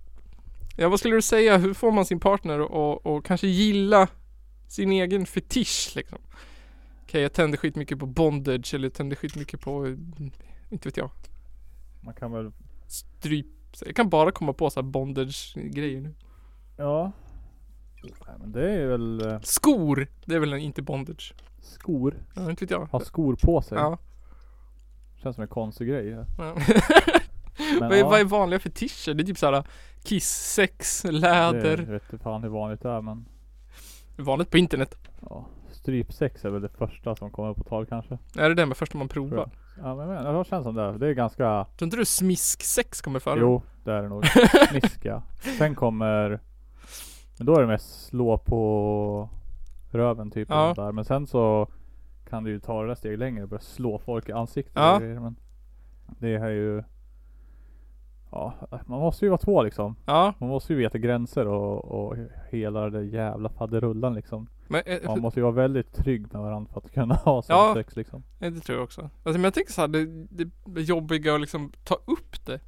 A: Ja, vad skulle du säga? Hur får man sin partner att- och, och kanske gilla sin egen fetisch liksom? Okej, jag tänder skitmycket på bondage eller jag tänder skitmycket på, mm, inte vet jag,
B: Man kan väl
A: stryp. Jag kan bara komma på så här bondage-grejer nu.
B: Ja. Nej, men det är väl eh,
A: Skor! Det är väl en inte bondage?
B: skor.
A: Ja, inte vet jag.
B: Ha skor på sig.
A: Ja.
B: Känns som en konstig grej. ja.
A: ja.
B: Men,
A: vad, är,
B: ja,
A: vad är vanliga fetischer? Det är typ såhär kiss, sex,
B: Det,
A: läder.
B: jag vet inte fan hur vanligt det är men.
A: Vanligt på internet.
B: Ja. Strypsex är väl det första som kommer på tal kanske.
A: Är det det med första man
B: Tror
A: provar?
B: jag. Ja men, men det känns som det. Det är ganska.
A: Tror inte du smisk-sex kommer före?
B: Jo det är det nog. Smiska. Sen kommer. Men då är det mest slå på röven typ.
A: Ja.
B: Ja. Där. Men sen så kan du ju ta det där steg längre och börja slå folk i ansiktet. och
A: Ja.
B: grejer, Men det är ju. Ja, man måste ju vara två liksom.
A: Ja,
B: Man måste ju veta gränser och, och hela den jävla faderullan liksom.
A: men eh,
B: Man måste ju vara väldigt trygg med varandra för att kunna ha sånt
A: Ja.
B: sex liksom.
A: nej, det tror jag också. Alltså, men jag tänker såhär, det, det är jobbiga att liksom ta upp det.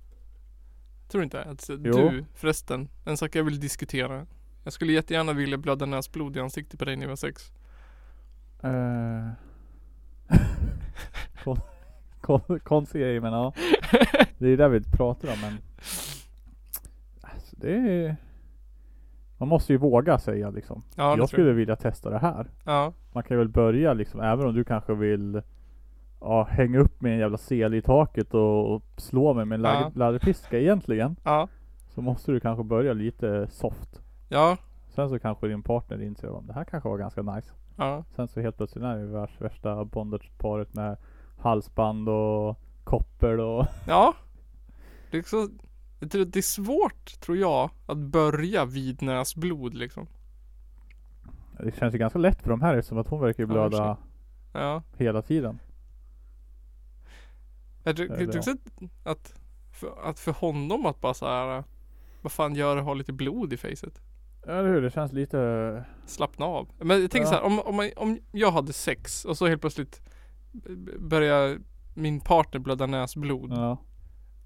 A: Tror du inte? Alltså, du förresten, en sak jag vill diskutera. Jag skulle jättegärna vilja blöda näsblod i ansiktet på dig när vi har sex.
B: Uh. kon, kon, konstig grej men ja. Det är det vi pratar om men. Alltså, det är... Man måste ju våga säga liksom.
A: Ja, det
B: jag
A: tror jag.
B: skulle vilja testa det här.
A: Ja,
B: Man kan ju väl börja liksom, även om du kanske vill ja, hänga upp med en jävla sele i taket och, och slå mig med en läder,
A: Ja.
B: läderpiska egentligen.
A: ja,
B: Så måste du kanske börja lite soft.
A: ja,
B: Sen så kanske din partner inser att det här kanske var ganska nice.
A: ja.
B: Sen så helt plötsligt är det värst, värsta bondageparet med halsband och koppel och
A: Ja. Det är också, jag tror att det är svårt, tror jag, att börja vid näsblod liksom.
B: Det känns ju ganska lätt för de här eftersom att hon verkar ju
A: Ja, i och för
B: blöda
A: Ja.
B: hela tiden.
A: Jag tror,
B: Det är
A: jag tror också
B: bra.
A: att, att, för, att för honom att bara så här. äh, Vad fan gör det att ha lite blod i facet?
B: Eller hur? Det känns lite...
A: Slappna av. Men jag tänker
B: Ja.
A: så här, om, om, man- om jag hade sex och så helt plötsligt b- börjar min partner blöda näsblod.
B: Ja.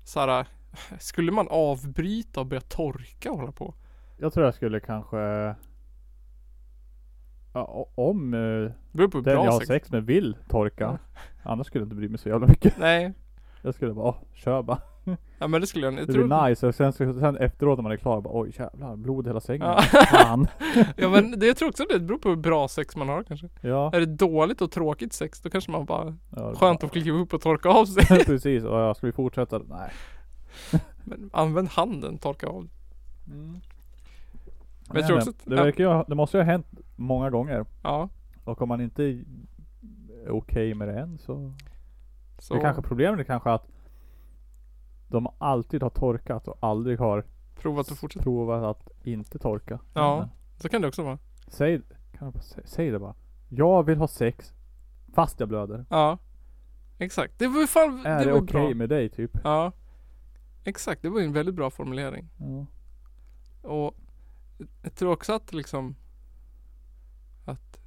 A: Så här, äh, skulle man avbryta och börja torka och hålla på?
B: Jag tror jag skulle kanske... Ja, o- om eh,
A: Det beror på hur
B: Den jag
A: bra
B: har
A: sex.
B: sex, med vill torka. Annars skulle jag inte bry mig så jävla mycket.
A: Nej,
B: Jag skulle bara, åh, kör bara.
A: Ja men det skulle jag, jag
B: Det
A: tror
B: blir nice och sen, så- sen efteråt när man är klar bara oj jävlar blod i hela sängen.
A: Ja.
B: Fan.
A: Ja men det, jag tror också det beror på hur bra sex man har kanske
B: Ja.
A: Är det dåligt och tråkigt sex då kanske man bara
B: ja det-
A: Skönt att kliva upp och torka av sig
B: Precis, och ja, ska vi fortsätta? Nej.
A: Men använd handen, torka av Men jag tror också att-
B: Mm. det,
A: ja.
B: verkar ju, ha- det måste ju ha hänt många gånger.
A: Ja
B: Och om man inte är okej med det än så.
A: så
B: Det kanske problemet är kanske att de alltid har torkat och aldrig har
A: prova att fortsätta
B: provat att inte torka.
A: Ja.
B: Men
A: Så kan det också vara
B: Säg, kan jag bara, sä- säg det bara. Jag vill ha sex fast jag blöder.
A: Ja Exakt, det var ju fan, det
B: Är det,
A: var ju
B: okej
A: bra
B: med dig typ?
A: Ja Exakt, det var ju en väldigt bra formulering
B: Ja.
A: Och jag tror också att liksom Att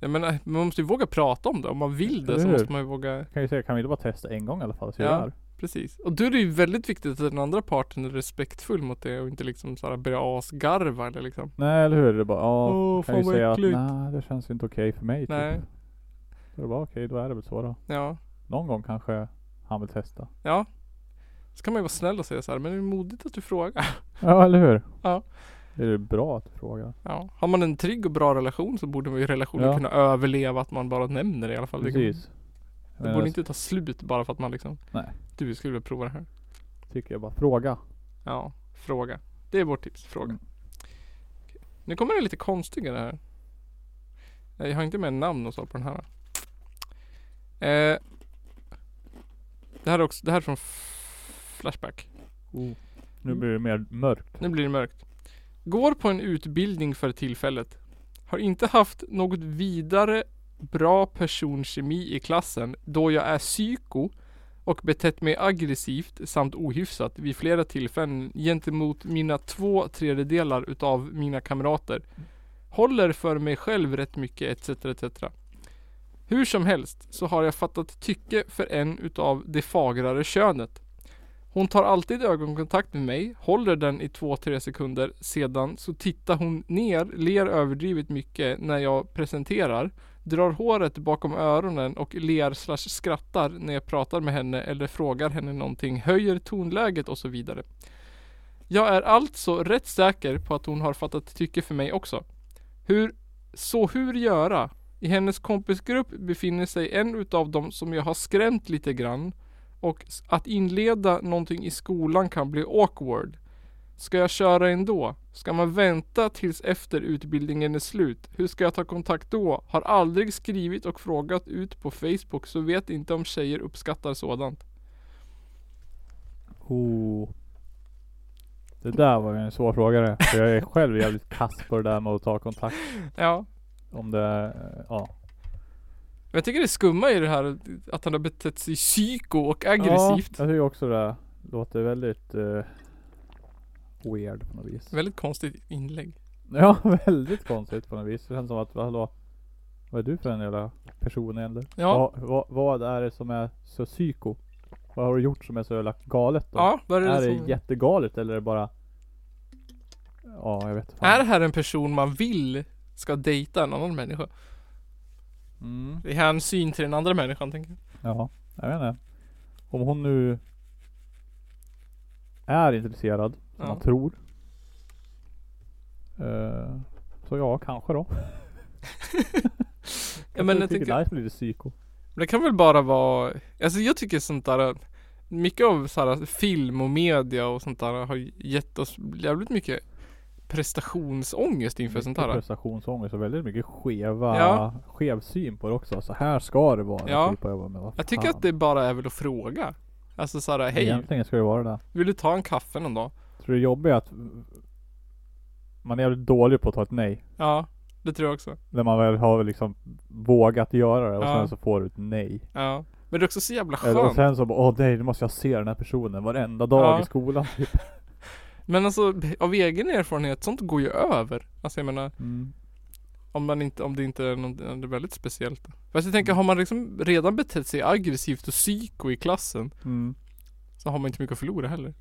A: Jag menar, man måste ju våga prata om det. Om man vill det
B: Eller
A: så
B: hur?
A: måste man ju våga
B: Kan ju säga, kan vi inte bara testa en gång i alla fall? Så
A: Ja.
B: ja.
A: Precis. Och då är det ju väldigt viktigt att den andra parten är respektfull mot det och inte liksom såhär börjar asgarva eller liksom
B: Nej eller hur? Det är bara, ja.
A: Åh
B: kan ju säga att nej det känns inte okej för mig
A: Nej.
B: typ. Då är det bara okej, då är det väl så då.
A: Ja.
B: Någon gång kanske han vill testa.
A: Ja. Så kan man ju vara snäll och säga så här, men det är modigt att du frågar.
B: Ja eller hur?
A: Ja.
B: Det är ju bra att du frågar.
A: Ja. Har man en trygg och bra relation så borde man ju i relationen
B: Ja.
A: kunna överleva att man bara nämner det i alla fall. Det kan-
B: Precis. Eh,
A: Det
B: Men
A: borde
B: jag
A: inte ta slut bara för att man liksom
B: Nej.
A: Du skulle vilja prova det här.
B: tycker jag bara, fråga.
A: Ja. Fråga. Det är vårt tips. Fråga.
B: Mm.
A: Okej. Nu kommer det lite konstigare här. Nej, Jag har inte med namn och så på den här. Eh, det här är också, det här är från F- Flashback.
B: Nu blir det mer mörkt.
A: Mm. Nu blir det mörkt. Går på en utbildning för tillfället. Har inte haft något vidare bra personkemi i klassen då jag är psyko och betett mig aggressivt samt ohyfsat vid flera tillfällen gentemot mina två tredjedelar utav mina kamrater. Håller för mig själv rätt mycket etc. etc. Hur som helst så har jag fattat tycke för en utav det fagrare könet. Hon tar alltid ögonkontakt med mig, håller den i 2-3 sekunder, sedan så tittar hon ner, ler överdrivet mycket när jag presenterar, drar håret bakom öronen och ler slash skrattar när jag pratar med henne eller frågar henne någonting, höjer tonläget och så vidare. Jag är alltså rätt säker på att hon har fattat tycke för mig också. Hur, så hur göra? I hennes kompisgrupp befinner sig en utav dem som jag har skrämt lite grann och s- att inleda någonting i skolan kan bli awkward. Ska jag köra ändå? Ska man vänta tills efter utbildningen är slut? Hur ska jag ta kontakt då? Har aldrig skrivit och frågat ut på Facebook så vet inte om tjejer uppskattar sådant.
B: Oh. Det där var ju en svår fråga det. För jag är själv jävligt kass på det där med att ta kontakt.
A: Ja.
B: Om det, eh, ja.
A: Men jag tycker det skumma i det här att han har betett sig psyko och aggressivt.
B: Ja, jag tycker också det låter väldigt eh, weird på något vis.
A: Väldigt konstigt inlägg.
B: Ja, väldigt konstigt på något vis. Det känns som att, hallå, vad är du för en jävla person egentligen?
A: Ja.
B: Vad, vad, vad är det som är så psyko? Vad har du gjort som är så jävla galet då?
A: Ja, vad är
B: är,
A: det,
B: det
A: som...
B: jättegalet eller är det bara Ja, jag vet fan.
A: Är det här en person man vill ska dejta en annan människa?
B: Mm.
A: I hänsyn till den andra människan tänker jag.
B: Ja, jag vet inte. Om hon nu är intresserad, som
A: Ja.
B: man tror. Eh, så ja, kanske då.
A: Ja, men jag
B: tycker
A: tänker-
B: det är lite psyko.
A: Men Det kan väl bara vara, alltså jag tycker sånt där Mycket av så här, film och media och sånt där har gett oss jävligt mycket prestationsångest inför sånt
B: Mycket
A: där.
B: prestationsångest och väldigt mycket skeva,
A: Ja.
B: skev syn på det också. Så här ska det vara.
A: Ja.
B: Typ. Och jag, bara, men vad
A: Jag tycker
B: fan.
A: att det bara är väl att fråga. Alltså så här, hej,
B: Egentligen ska det vara det där.
A: vill du ta en kaffe någon dag?
B: Tror du det jobbiga är att man är jävligt dålig på att ta ett nej.
A: Ja, det tror jag också.
B: När man väl har liksom vågat göra det och
A: Ja.
B: sen så får du ett nej.
A: Ja. Men det är också så jävla
B: Eller, och
A: skönt.
B: sen så bara, åh nej, nu måste jag se den här personen varenda dag
A: Ja.
B: i skolan. Typ.
A: Men alltså av egen erfarenhet, sånt går ju över. Alltså jag menar,
B: Mm.
A: om, man inte, om det inte är något om det är väldigt speciellt. Fast jag tänker, har man liksom redan betett sig aggressivt och psyko i klassen
B: Mm.
A: Så har man inte mycket att förlora heller.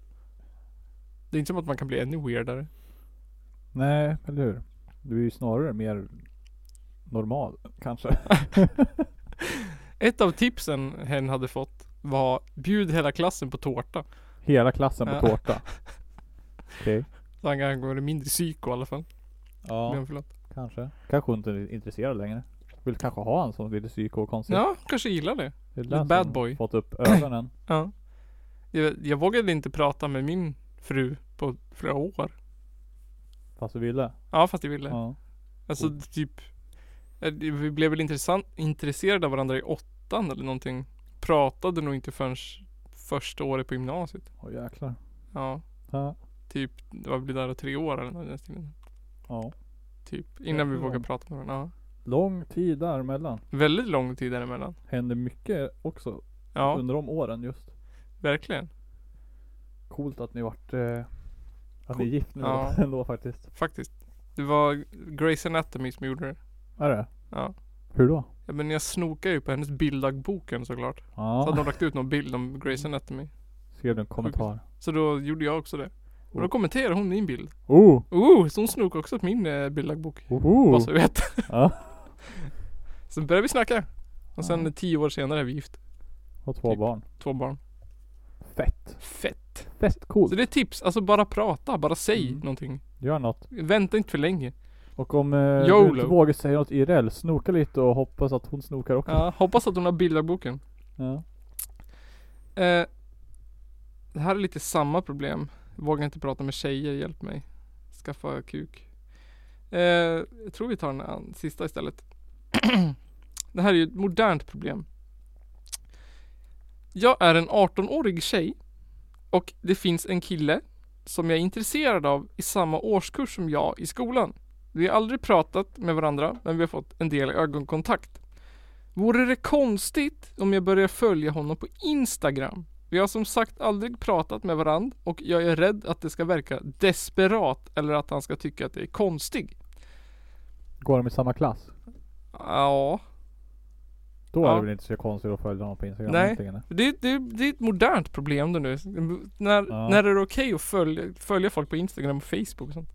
A: Det är inte som att man kan bli ännu weirdare.
B: Nej, eller hur? Du är ju snarare mer normal kanske.
A: Ett av tipsen hen hade fått var bjud hela klassen på tårta.
B: Hela klassen på
A: Ja.
B: tårta. Okej.
A: Så han kanske går mindre psyko i alla fall.
B: Ja,
A: Men förlåt.
B: kanske. Kanske hon inte är intresserad längre. Vill kanske ha han som lite psyko och konstig.
A: Ja, kanske gillar det.
B: det är
A: lite
B: den
A: bad
B: som
A: boy.
B: Fått upp ögonen.
A: Ja. Jag, jag vågade inte prata med min fru på flera år.
B: Fast du ville.
A: Ja, fast jag ville.
B: Ja.
A: Alltså typ eh, Vi blev väl intressan- intresserade av varandra i åttan eller någonting Pratade nog inte förrän första året på gymnasiet
B: Åh jäklar.
A: Ja,
B: Ja.
A: typ det var väl där tre år eller något i den stilen.
B: ja.
A: Typ innan vi
B: Jäklar.
A: vågade prata med varandra
B: Lång tid däremellan.
A: ja. Väldigt lång tid däremellan
B: Hände mycket också
A: Ja,
B: under de åren just.
A: verkligen
B: Coolt att ni vart eh, att ni
A: Cool.
B: är gift nu
A: Ja.
B: ändå faktiskt.
A: Faktiskt Det var Grace Anatomy som gjorde det
B: Är det?
A: Ja
B: Hur då?
A: Ja men jag snokade ju på hennes bilddagboken såklart Så
B: Ja. Mm.
A: hade de lagt ut någon bild om Grace Anatomy
B: Skrev du en kommentar?
A: Så då gjorde jag också det Och
B: Mm.
A: då kommenterade hon min bild
B: Oh!
A: Oh, så hon snokade också på min eh, bilddagbok Bara
B: Oho!
A: så vi vet.
B: Oh. Ja.
A: Sen började vi snacka. Och sen
B: Ja.
A: tio år senare är vi gift.
B: Och två
A: Typ.
B: barn.
A: Två barn.
B: Fett.
A: Fett.
B: Fett coolt.
A: Så det är tips. Alltså bara prata. Bara säg
B: Mm.
A: någonting.
B: Gör något.
A: Vänta inte för länge.
B: Och om eh, du
A: YOLO.
B: inte vågar säga något IRL, snoka lite och hoppas att hon snokar också.
A: Ja, hoppas att hon har bildagboken.
B: Ja.
A: Eh, det här är lite samma problem. Vågar inte prata med tjejer. Hjälp mig. Skaffa kuk. Eh, jag tror vi tar den an- sista istället. det här är ju ett modernt problem. Jag är en 18-årig tjej och det finns en kille som jag är intresserad av i samma årskurs som jag i skolan. Vi har aldrig pratat med varandra men vi har fått en del ögonkontakt. Vore det konstigt om jag börjar följa honom på Instagram? Vi har som sagt aldrig pratat med varandra och jag är rädd att det ska verka desperat eller att han ska tycka att det är konstig.
B: Går de i samma klass?
A: Ja,
B: Då
A: Ja.
B: är det väl inte så konstigt att följa honom på Instagram
A: Nej.
B: egentligen?
A: det, det, det är ett modernt problem det nu. När,
B: Ja.
A: när är det okej att följa, följa folk på Instagram och Facebook och sånt?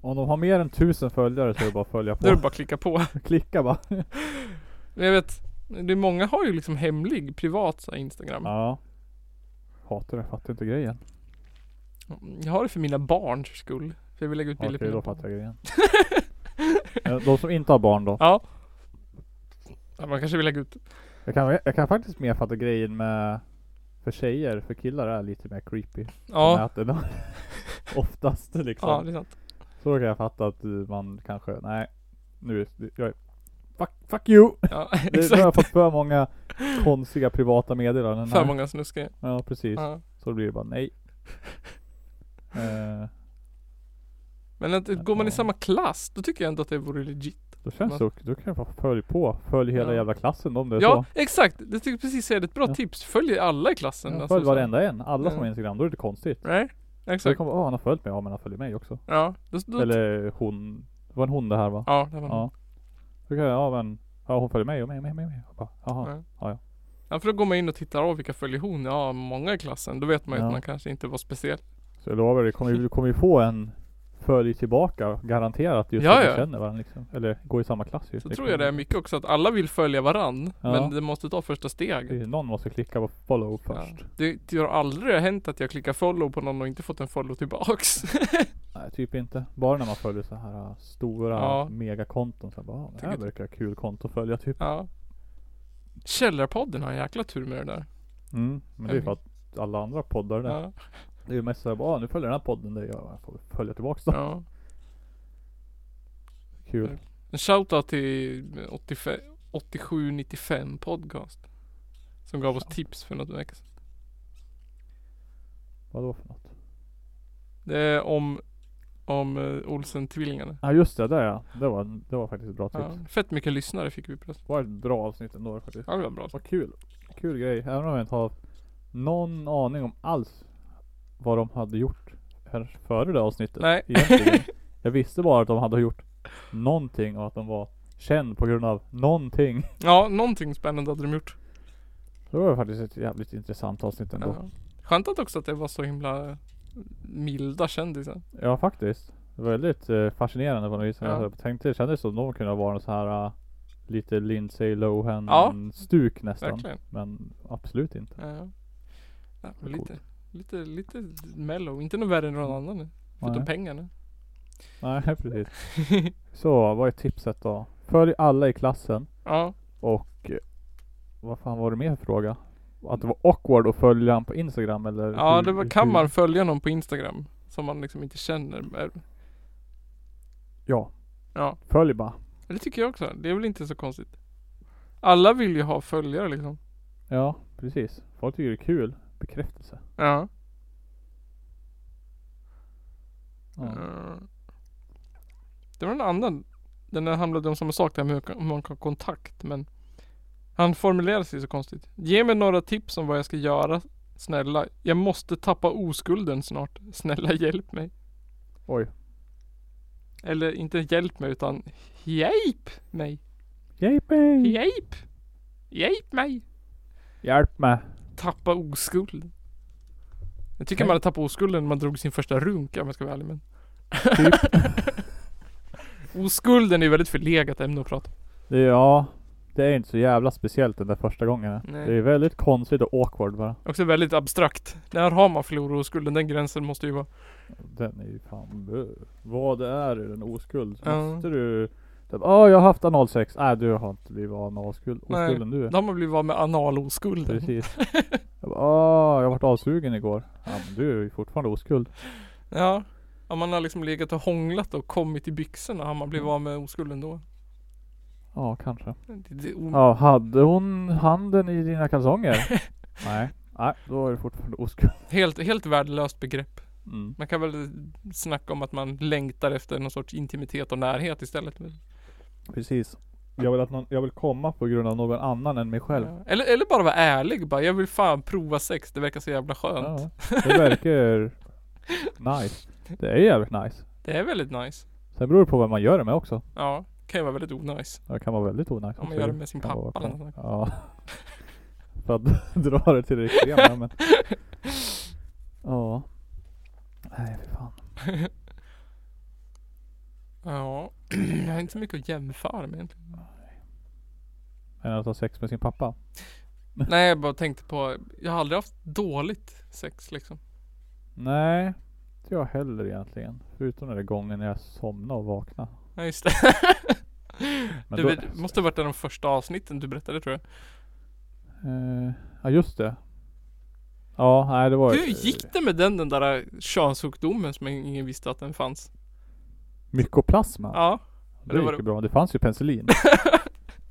B: Om de har mer än tusen följare så är det bara att följa
A: Då är det
B: på.
A: bara att klicka på.
B: Klicka bara.
A: Men jag vet, det är många har ju liksom hemlig, privat så här, Instagram.
B: Ja. Hatar det, fattar inte grejen.
A: Jag har det för mina barns skull. För jag vill lägga ut
B: Okej,
A: bilder på
B: då
A: mina
B: fattar
A: barn.
B: jag grejen. Eh, de som inte har barn då?
A: Ja. ja. Man kanske vill lägga ut.
B: Jag kan, jag kan faktiskt mer fatta grejen med för tjejer, för killar är lite mer creepy. på
A: Ja.
B: nätet. Oftast liksom.
A: Ja, det är sant.
B: Så då kan jag fatta att eh, man kanske, nej. Nu, jag är, fuck, fuck you!
A: Ja,
B: Det, nu har jag
A: exakt.
B: fått för många konstiga privata meddelanden
A: För
B: här.
A: många snuskiga.
B: Ja precis.
A: Ja.
B: Så då blir det bara nej. Eh,
A: Men att, går man i
B: Ja.
A: samma klass, då tycker jag ändå att det vore legit.
B: då känns det ok- då kan jag bara följa på. Följ hela
A: Ja.
B: jävla klassen om det är
A: Ja,
B: så.
A: exakt. Det tycker jag precis är ett bra
B: Ja.
A: tips. Följ alla i klassen.
B: Ja,
A: alltså,
B: Följ
A: så.
B: varenda en. Alla som
A: Ja.
B: har Instagram. Då är det konstigt.
A: Nej,
B: Så
A: exakt.
B: kommer åh han har följt mig. Ja men han följer mig också.
A: Ja, då, då,
B: Eller hon. Det var en hon det här va?
A: ja, det var ja.
B: Ja. Då kan jag, ja men. Ja hon följer mig och mig och mig och mig. och mig. Jag bara, Jaha.
A: Ja.
B: ja, ja.
A: ja, för då går man in och tittar av vilka följer hon? Ja, många i klassen. Då vet man ju
B: Ja.
A: att man kanske inte var speciell.
B: Så jag lovar dig. Kommer, ju- du kommer ju få en följ tillbaka. Garanterat. Just
A: Ja,
B: att du
A: ja.
B: känner varandra liksom. Eller går i samma klass ju.
A: Så
B: Det
A: tror jag det
B: kommer-
A: är mycket också att alla vill följa varann.
B: Ja.
A: Men det måste ta första steget.
B: Precis, Någon måste klicka på follow först.
A: Det, det har aldrig hänt att jag klickar follow på någon och inte fått en follow tillbaks.
B: Nej typ inte. Bara när man följer så här äh, stora
A: Ja.
B: megakonton. Så bara, "Ah, det här
A: Tycker-
B: verkar kul konto att följa typ.
A: ja. Källarpodden har en jäkla tur med det där.
B: Mm, men det är ju för att alla andra poddar där.
A: Ja.
B: Det är ju mest såhär, bara, "Ah, nu följer den här podden dig. Ja, jag får väl följa tillbaks då.
A: ja.
B: Kul.
A: En shoutout till eh, 85 8795 podcast. Som gav oss tips för något vecka sedan.
B: Vadå för något?
A: Det är om, om eh, Olsen-tvillingarna.
B: Ja ah, just det, där ja. Det var, det var faktiskt ett bra tips.
A: Ja. Fett mycket lyssnare fick vi plötsligt.
B: Det var ett bra avsnitt ändå faktiskt.
A: Ja det var bra.
B: Vad kul. Kul grej. Även om jag inte har någon aning om alls vad de hade gjort här före det avsnittet.
A: Nej.
B: Egentligen. Jag visste bara att de hade gjort någonting och att de var känd på grund av någonting.
A: Ja någonting spännande hade de gjort.
B: Så det var faktiskt ett jävligt intressant avsnitt ändå.
A: Ja. Skönt att också att det var så himla milda kändisar.
B: Ja, faktiskt. Det var väldigt eh, fascinerande på något vis.
A: Ja.
B: Jag tänkte, det kändes som någon kunde vara någon så här eh, lite Lindsay Lohan
A: Ja.
B: stuk nästan.
A: Verkligen.
B: Men absolut inte.
A: Ja. Ja, men
B: Coolt.
A: lite, Lite, lite mellow. Inte något värre än någon annan. Förutom
B: Nej.
A: pengarna.
B: Nej, precis. Så, vad är tipset då? Följ alla i klassen
A: Ja.
B: och eh, vad fan var det mer för fråga? Att det var awkward att följa han på Instagram eller?
A: Ja,
B: hur-
A: det var, kan
B: hur-
A: man följa någon på Instagram. Som man liksom inte känner.
B: Ja.
A: Ja.
B: Följ bara.
A: Det tycker jag också. Det är väl inte så konstigt. Alla vill ju ha följare liksom.
B: Ja, precis. Folk tycker det är kul. Bekräftelse.
A: Ja.
B: Ja.
A: Eh, Det var en annan. Den där handlade om samma sak där med hur kan- hur man kan ha kontakt men Han formulerade sig så konstigt. Ge mig några tips om vad jag ska göra. Snälla. Jag måste tappa oskulden snart. Snälla hjälp mig.
B: Oj.
A: Eller inte hjälp mig utan hjälp mig.
B: Hjälp
A: Hjälp. Hjälp mig.
B: Hjälp mig.
A: Tappa oskulden. Jag tycker
B: Nej.
A: man hade tappat oskulden när man drog sin första runk om jag ska vara ärlig men.
B: Typ.
A: Oskulden är ju väldigt förlegat ämne att prata om.
B: Det är, ja. Det är inte så jävla speciellt den där första gången.
A: Nej.
B: Det är väldigt konstigt och awkward bara.
A: Också väldigt abstrakt. När har man förlorat oskulden? Den gränsen måste ju vara...
B: Den är ju fan bö. Vad är en oskuld?
A: Ja.
B: Måste du typ, åh jag har haft analsex. Nej du har inte blivit analskuld.
A: Nej.
B: Oskulden du är.
A: Då har man blivit av med analoskulden.
B: Precis. Jag bara, åh jag har varit avsugen igår. Ja men du är ju fortfarande oskuld.
A: Ja. Om man har liksom legat och hånglat och kommit i byxorna har man
B: Mm.
A: blivit av med oskulden då.
B: Ja kanske.
A: Det, det, o-
B: Ja hade hon handen i dina kalsonger? Nej. Nej då är du fortfarande oskuld.
A: helt, helt värdelöst begrepp.
B: Mm.
A: Man kan väl snacka om att man längtar efter någon sorts intimitet och närhet istället. men-
B: Precis. Jag vill, att någon, jag vill komma på grund av någon annan än mig själv.
A: Ja. Eller, eller bara vara ärlig bara. Jag vill fan prova sex. Det verkar så jävla skönt.
B: Ja, det verkar nice. Det är jävligt nice.
A: Det är väldigt nice.
B: Sen beror det på vad man gör det med också.
A: Ja. Kan ju vara väldigt onajs.
B: Det kan vara väldigt onajs.
A: Om man
B: också.
A: gör det med sin
B: kan vara
A: pappa eller
B: kon-
A: något.
B: Ja. För att dra det till det extrema men. Ja. Nej fy fan.
A: Ja. Jag har inte så mycket att jämföra med egentligen.
B: Men att ha sex med sin pappa.
A: Nej jag bara tänkte på, jag har aldrig haft dåligt sex liksom.
B: Nej. Inte jag heller egentligen. Förutom den där gången när jag somnade och vaknade.
A: Nej just det.
B: Men
A: du,
B: då-
A: vet, det måste ha varit en av de första avsnitten du berättade tror jag.
B: Eh, ja just det. Ja nej det var
A: Hur gick det med den, den där eh, könssjukdomen som ingen visste att den fanns?
B: Mykoplasma.
A: Ja.
B: Det,
A: Det
B: gick
A: var
B: ju
A: det-
B: bra. Det fanns ju penicillin.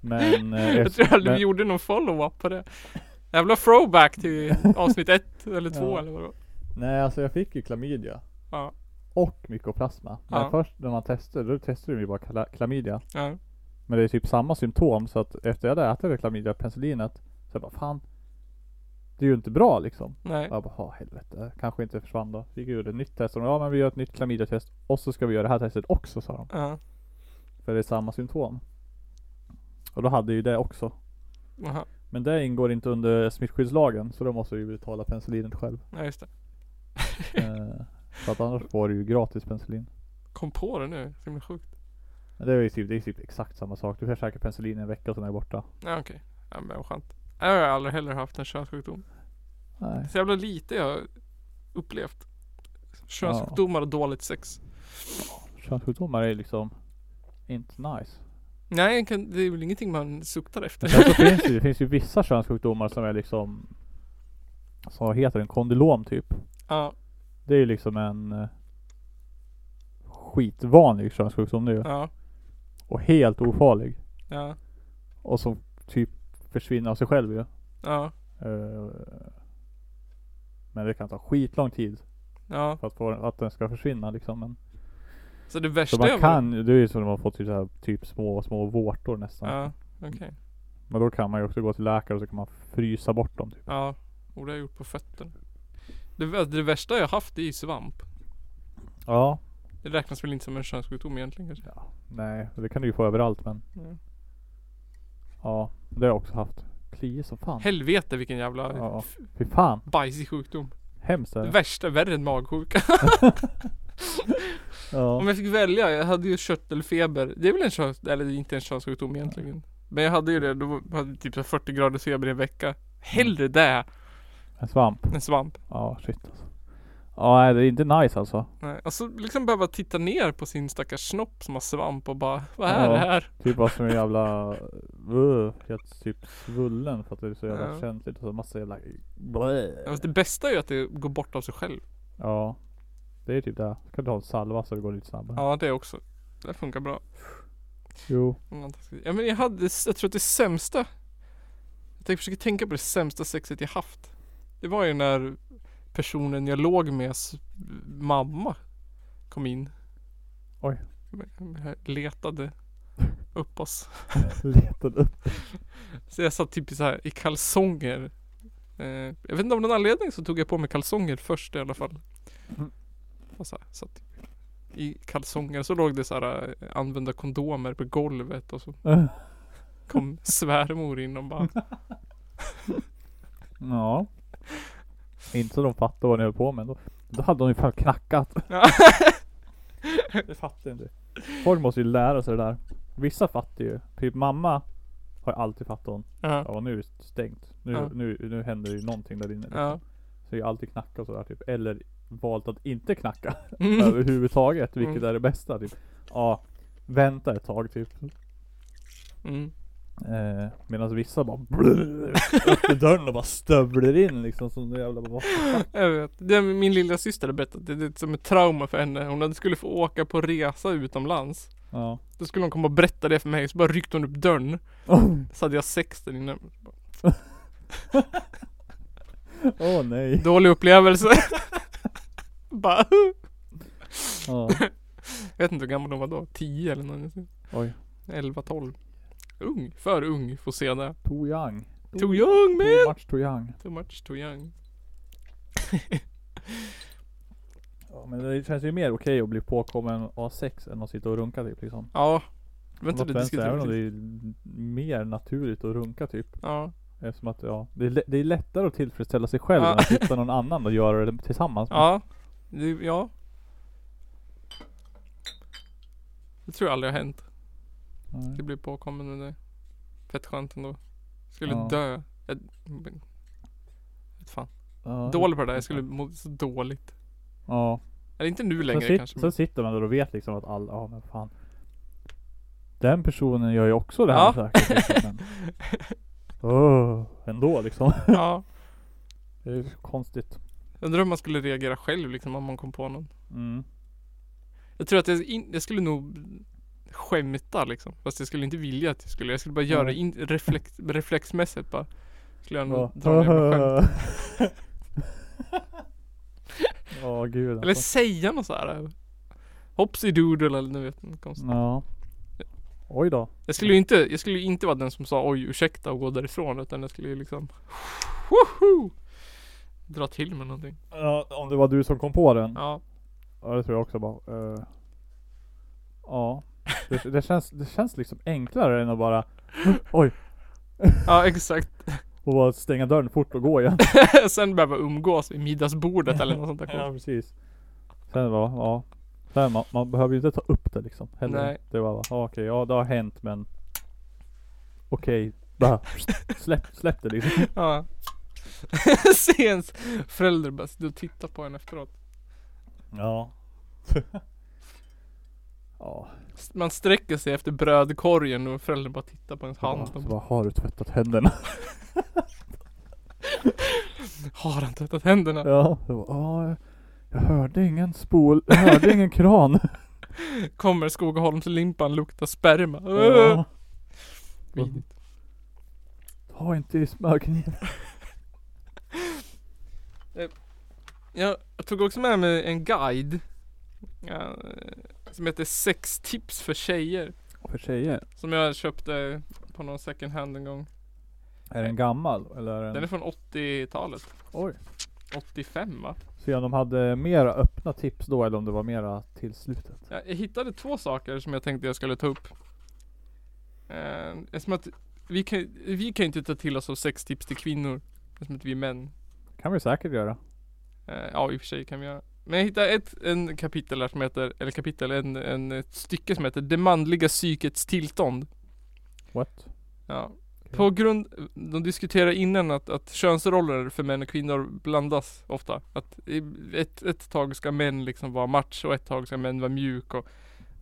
B: men, eh,
A: Jag tror aldrig
B: men,
A: vi gjorde någon follow-up på det. Jävla throwback till avsnitt ett eller två
B: Ja.
A: eller vad det var.
B: Nej alltså jag fick ju klamydia.
A: Ja.
B: Och mykoplasma. Men
A: Ja.
B: först när man testade, då testade de ju bara kla- klamydia.
A: Ja.
B: Men det är typ samma symptom så att efter jag hade ätit det klamydia penicillinet. Så jag bara fan. Det är ju inte bra liksom.
A: Nej.
B: Jag bara "Ha, helvete. Kanske inte försvann då. Fick ju ett nytt test. Och de, ja men vi gör ett nytt klamydiatest. Och så ska vi göra det här testet också sa de.
A: Ja.
B: För det är samma symptom. Och då hade jag ju det också.
A: Aha.
B: Men det ingår inte under smittskyddslagen så då måste vi betala penicillinet själv.
A: Ja just det.
B: Eh, För att annars får du ju gratis penicillin.
A: Kom på det nu. Så himla sjukt.
B: Men Det är ju typ, det är typ exakt samma sak. Du kan käka penicillin i en vecka och sen är det borta.
A: Ja okej. Ja men vad skönt. Jag har aldrig heller haft en könssjukdom.
B: Nej.
A: Så jävla lite jag har upplevt. Könssjukdomar och dåligt sex.
B: Könssjukdomar är liksom inte nice.
A: Nej, jag kan, det är väl ingenting man suktar
B: Men
A: efter.
B: sen så finns det, ju- det finns ju vissa könssjukdomar som är liksom Som heter en kondylom typ.
A: ja,
B: Det är ju liksom en eh, skitvanlig könssjukdom nu.
A: ja,
B: Och helt ofarlig.
A: ja,
B: Och som typ försvinner av sig själv ju.
A: ja,
B: Eh, Men det kan ta skitlång tid
A: ja.
B: för att, få, att den ska försvinna liksom. Men,
A: Så det
B: så
A: värsta
B: man
A: jag
B: kan, det är ju som när man får typ, så här, typ små, små vårtor nästan.
A: Ja, okej.
B: Men då kan man ju också gå till läkare och så kan man frysa bort dem. Typ.
A: Ja, borde jag gjort på fötterna. Det, vä- det värsta jag haft är ju svamp.
B: Ja.
A: Det räknas väl inte som en könssjukdom egentligen kanske?
B: ja. Nej, det kan du ju få överallt men.
A: Ja.
B: Ja, det har jag också haft. Kli som fan.
A: Helvete vilken jävla
B: Ja.
A: f-
B: Fy fan.
A: bajsig sjukdom.
B: Hemskt är
A: Det
B: det.
A: värsta, värre än magsjuka. Om
B: Ja.
A: jag fick välja, jag hade ju körtelfeber. Det är väl en köns... Eller det är inte en könssjukdom egentligen. Men jag hade ju det, då hade jag typ så här 40 grader feber i en vecka. Hellre det
B: En svamp.
A: En svamp.
B: Ja, shit alltså. Ja, nej, det är inte nice alltså.
A: Nej. Alltså liksom behöva titta ner på sin stackars snopp som har svamp och bara Vad är
B: Ja.
A: det här?
B: Typ vad som är jävla, uh, helt typ svullen för att det är så jävla
A: Ja.
B: känsligt och så massa jävla blä.
A: Ja, fast Alltså, Det bästa är ju att det går bort av sig själv.
B: Ja. Det är typ det. Kan du ha en salva så det går lite snabbare?
A: Ja det också. Det funkar bra.
B: Jo.
A: Ja men Mm, jag hade, jag tror att det sämsta Jag tänker- försöker tänka på det sämsta sexet jag haft Det var ju när personen jag låg med s- mamma kom in
B: Oj.
A: Letade upp oss
B: Letade upp.
A: Så jag satt typ i så här i kalsonger eh, Jag vet inte av någon anledning så tog jag på mig kalsonger först i alla fall
B: Mm.
A: Och så här, satt i kalsonger så låg det så här eh, använda kondomer på golvet och så kom svärmor in och bara
B: ja. Inte så de fattade vad ni höll på med då. Då hade de ju fan knackat.
A: Ja.
B: det fattar jag inte. Folk måste ju lära sig det där. Vissa fattar ju. Typ mamma har ju alltid fattat hon.
A: Ja,
B: Ja nu är det stängt. Nu,
A: Ja.
B: nu, nu händer ju någonting där inne. liksom.
A: ja.
B: Så jag har alltid knackat och sådär typ. Eller valt att inte knacka.
A: Mm.
B: överhuvudtaget, vilket
A: Mm.
B: är det bästa typ. Ja, vänta ett tag typ.
A: Mm.
B: Eh, Medan vissa bara blr, upp i dörren och bara stövlar in liksom som en jävla bara,
A: Jag vet. Det, min lilla syster har berättat det, det är som ett trauma för henne. Hon hade skulle få åka på resa utomlands.
B: Ja.
A: Då skulle hon komma och berätta det för mig, så bara ryckte hon upp dörren. Så hade jag sex där inne.
B: Åh nej.
A: Dålig upplevelse. bara,
B: Ja.
A: jag vet inte hur gammal hon var då. 10 eller någonting.
B: Oj.
A: 11, 12. Ung. För ung får se det.
B: Too young.
A: Too young man.
B: Too much too young.
A: Too much too young.
B: Ja, men det känns ju mer okej att bli påkommen och ha sex än att sitta och runka typ liksom.
A: Ja. Vänta
B: Om
A: du
B: något vänster,
A: diskuterar
B: även om
A: precis.
B: det är mer naturligt att runka typ.
A: Ja.
B: Eftersom att ja, det är, lä- det är lättare att tillfredsställa sig själv
A: Ja.
B: än att hitta någon annan och göra det tillsammans med.
A: Ja. Det, ja. Det tror jag aldrig har hänt.
B: Nej.
A: Det blir påkommen med det. Fett skönt ändå. Skulle
B: Ja.
A: dö. Jag, vet fan.
B: Ja,
A: Dålig på det där. Jag skulle må så dåligt.
B: Ja.
A: Eller inte nu
B: Sen,
A: längre
B: sit,
A: kanske.
B: sen
A: Men,
B: sitter man där och vet liksom att alla, ja men fan. Den personen gör ju också det här
A: Ja.
B: säkert. Liksom, men, Åh, ändå liksom.
A: ja.
B: Det är ju konstigt.
A: Jag undrar hur man skulle reagera själv liksom om man kom på någon.
B: Mm.
A: Jag tror att jag, in, jag skulle nog skämta liksom. Fast jag skulle inte vilja att jag skulle. Jag skulle bara göra det in, reflex, reflexmässigt bara. Skulle jag nog dra ner på skämt.
B: Ja Åh, gud
A: Eller
B: alltså.
A: säga något så här. Hoppsi doodle eller du vet något konstigt.
B: Ja. Oj då.
A: Jag skulle ju inte, jag skulle ju inte vara den som sa oj ursäkta och gå därifrån utan jag skulle ju liksom woho, Dra till med någonting.
B: Ja, om det var du som kom på den.
A: Ja.
B: Ja det tror jag också bara. eh, ja. Det, det, känns, det känns liksom enklare än att bara Oj.
A: Ja exakt.
B: Och bara stänga dörren fort och gå igen.
A: Sen behöva umgås vid middagsbordet eller något sånt där.
B: Ja
A: konstigt.
B: precis. Sen var, ja. Sen man, man behöver ju inte ta upp det liksom. Heller.
A: Nej.
B: Det var bara, ja, okej, ja det har hänt men. Okej, bara släpp, släpp det liksom.
A: Ja. Se ens förälder bara sitta och titta på en efteråt.
B: Ja. ja.
A: Man sträcker sig efter brödkorgen och föräldern bara tittar på ens hand.
B: Så
A: Och
B: bara, har du tvättat händerna?
A: Har han tvättat händerna?
B: ja. Så bara, ja. Jag hörde ingen spol, jag hörde ingen kran.
A: Kommer Skogaholmslimpan lukta sperma?
B: ja.
A: Vidrigt.
B: Ta inte i smörkniven.
A: Jag tog också med mig en guide. Ja, som heter Sex tips för tjejer.
B: För tjejer.
A: Som jag köpte på någon second hand en gång.
B: Är den gammal eller är den?
A: Den är från 80-talet.
B: Oj.
A: 85 va?
B: Se om de hade mera öppna tips då eller om det var mera till slutet.
A: Ja, Jag hittade två saker som jag tänkte jag skulle ta upp. Eh, eftersom att vi kan, vi kan ju inte ta till oss av sex tips till kvinnor. Eftersom att vi är män.
B: Kan vi säkert göra.
A: Eh, ja i och för sig kan vi göra. Men jag hittade ett en kapitel här som heter, eller kapitel, en, en, ett stycke som heter Det manliga psykets tillstånd.
B: What?
A: Ja. På grund, de diskuterar innan att, att könsroller för män och kvinnor blandas ofta. Att i- ett, ett tag ska män liksom vara match och ett tag ska män vara mjuk och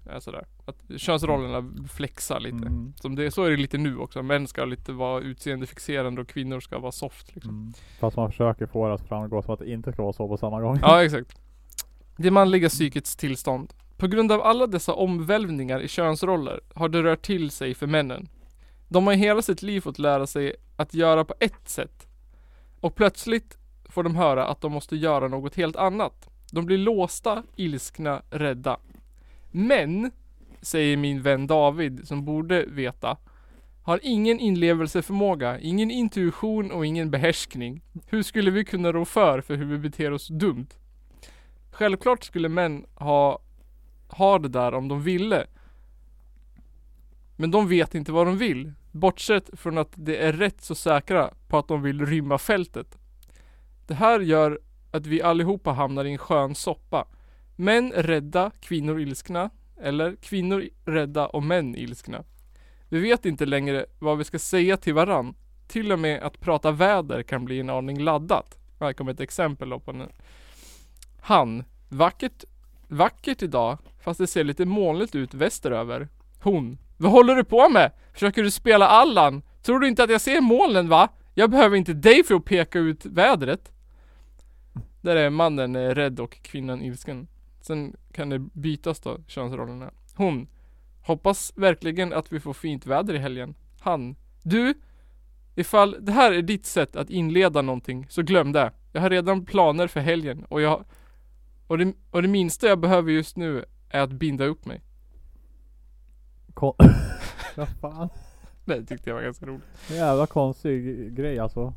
A: eh, sådär. Att könsrollerna flexar lite.
B: Mm.
A: Som det, så är det lite nu också. Män ska lite vara utseendefixerande och kvinnor ska vara soft liksom.
B: Mm. Fast man försöker få det att framgå som att det inte ska vara så på samma gång.
A: Ja, exakt. Det manliga psykets tillstånd. På grund av alla dessa omvälvningar i könsroller har det rört till sig för männen. De har i hela sitt liv fått lära sig att göra på ett sätt. Och plötsligt får de höra att de måste göra något helt annat. De blir låsta, ilskna, rädda. Men, säger min vän David, som borde veta, har ingen inlevelseförmåga, ingen intuition och ingen behärskning. Hur skulle vi kunna rå för för hur vi beter oss dumt? Självklart skulle män ha, ha det där om de ville. Men de vet inte vad de vill. Bortsett från att de är rätt så säkra på att de vill rymma fältet. Det här gör att vi allihopa hamnar i en skön soppa. Män rädda, kvinnor ilskna. Eller kvinnor rädda och män ilskna. Vi vet inte längre vad vi ska säga till varann. Till och med att prata väder kan bli en aning laddat. Här kommer ett exempel då på en han. Vackert, vackert idag, fast det ser lite molnigt ut västeröver. Hon. Vad håller du på med? Försöker du spela Allan? Tror du inte att jag ser molnen va? Jag behöver inte dig för att peka ut vädret. Där är mannen eh, rädd och kvinnan ilsken. Sen kan det bytas då, könsrollerna. Hon. Hoppas verkligen att vi får fint väder i helgen. Han. Du. Ifall det här är ditt sätt att inleda någonting, så glöm det. Jag har redan planer för helgen och jag och det, och det minsta jag behöver just nu är att binda upp mig.
B: Kon- Vad fan.
A: Det tyckte jag var ganska roligt.
B: Jävla konstig grej alltså.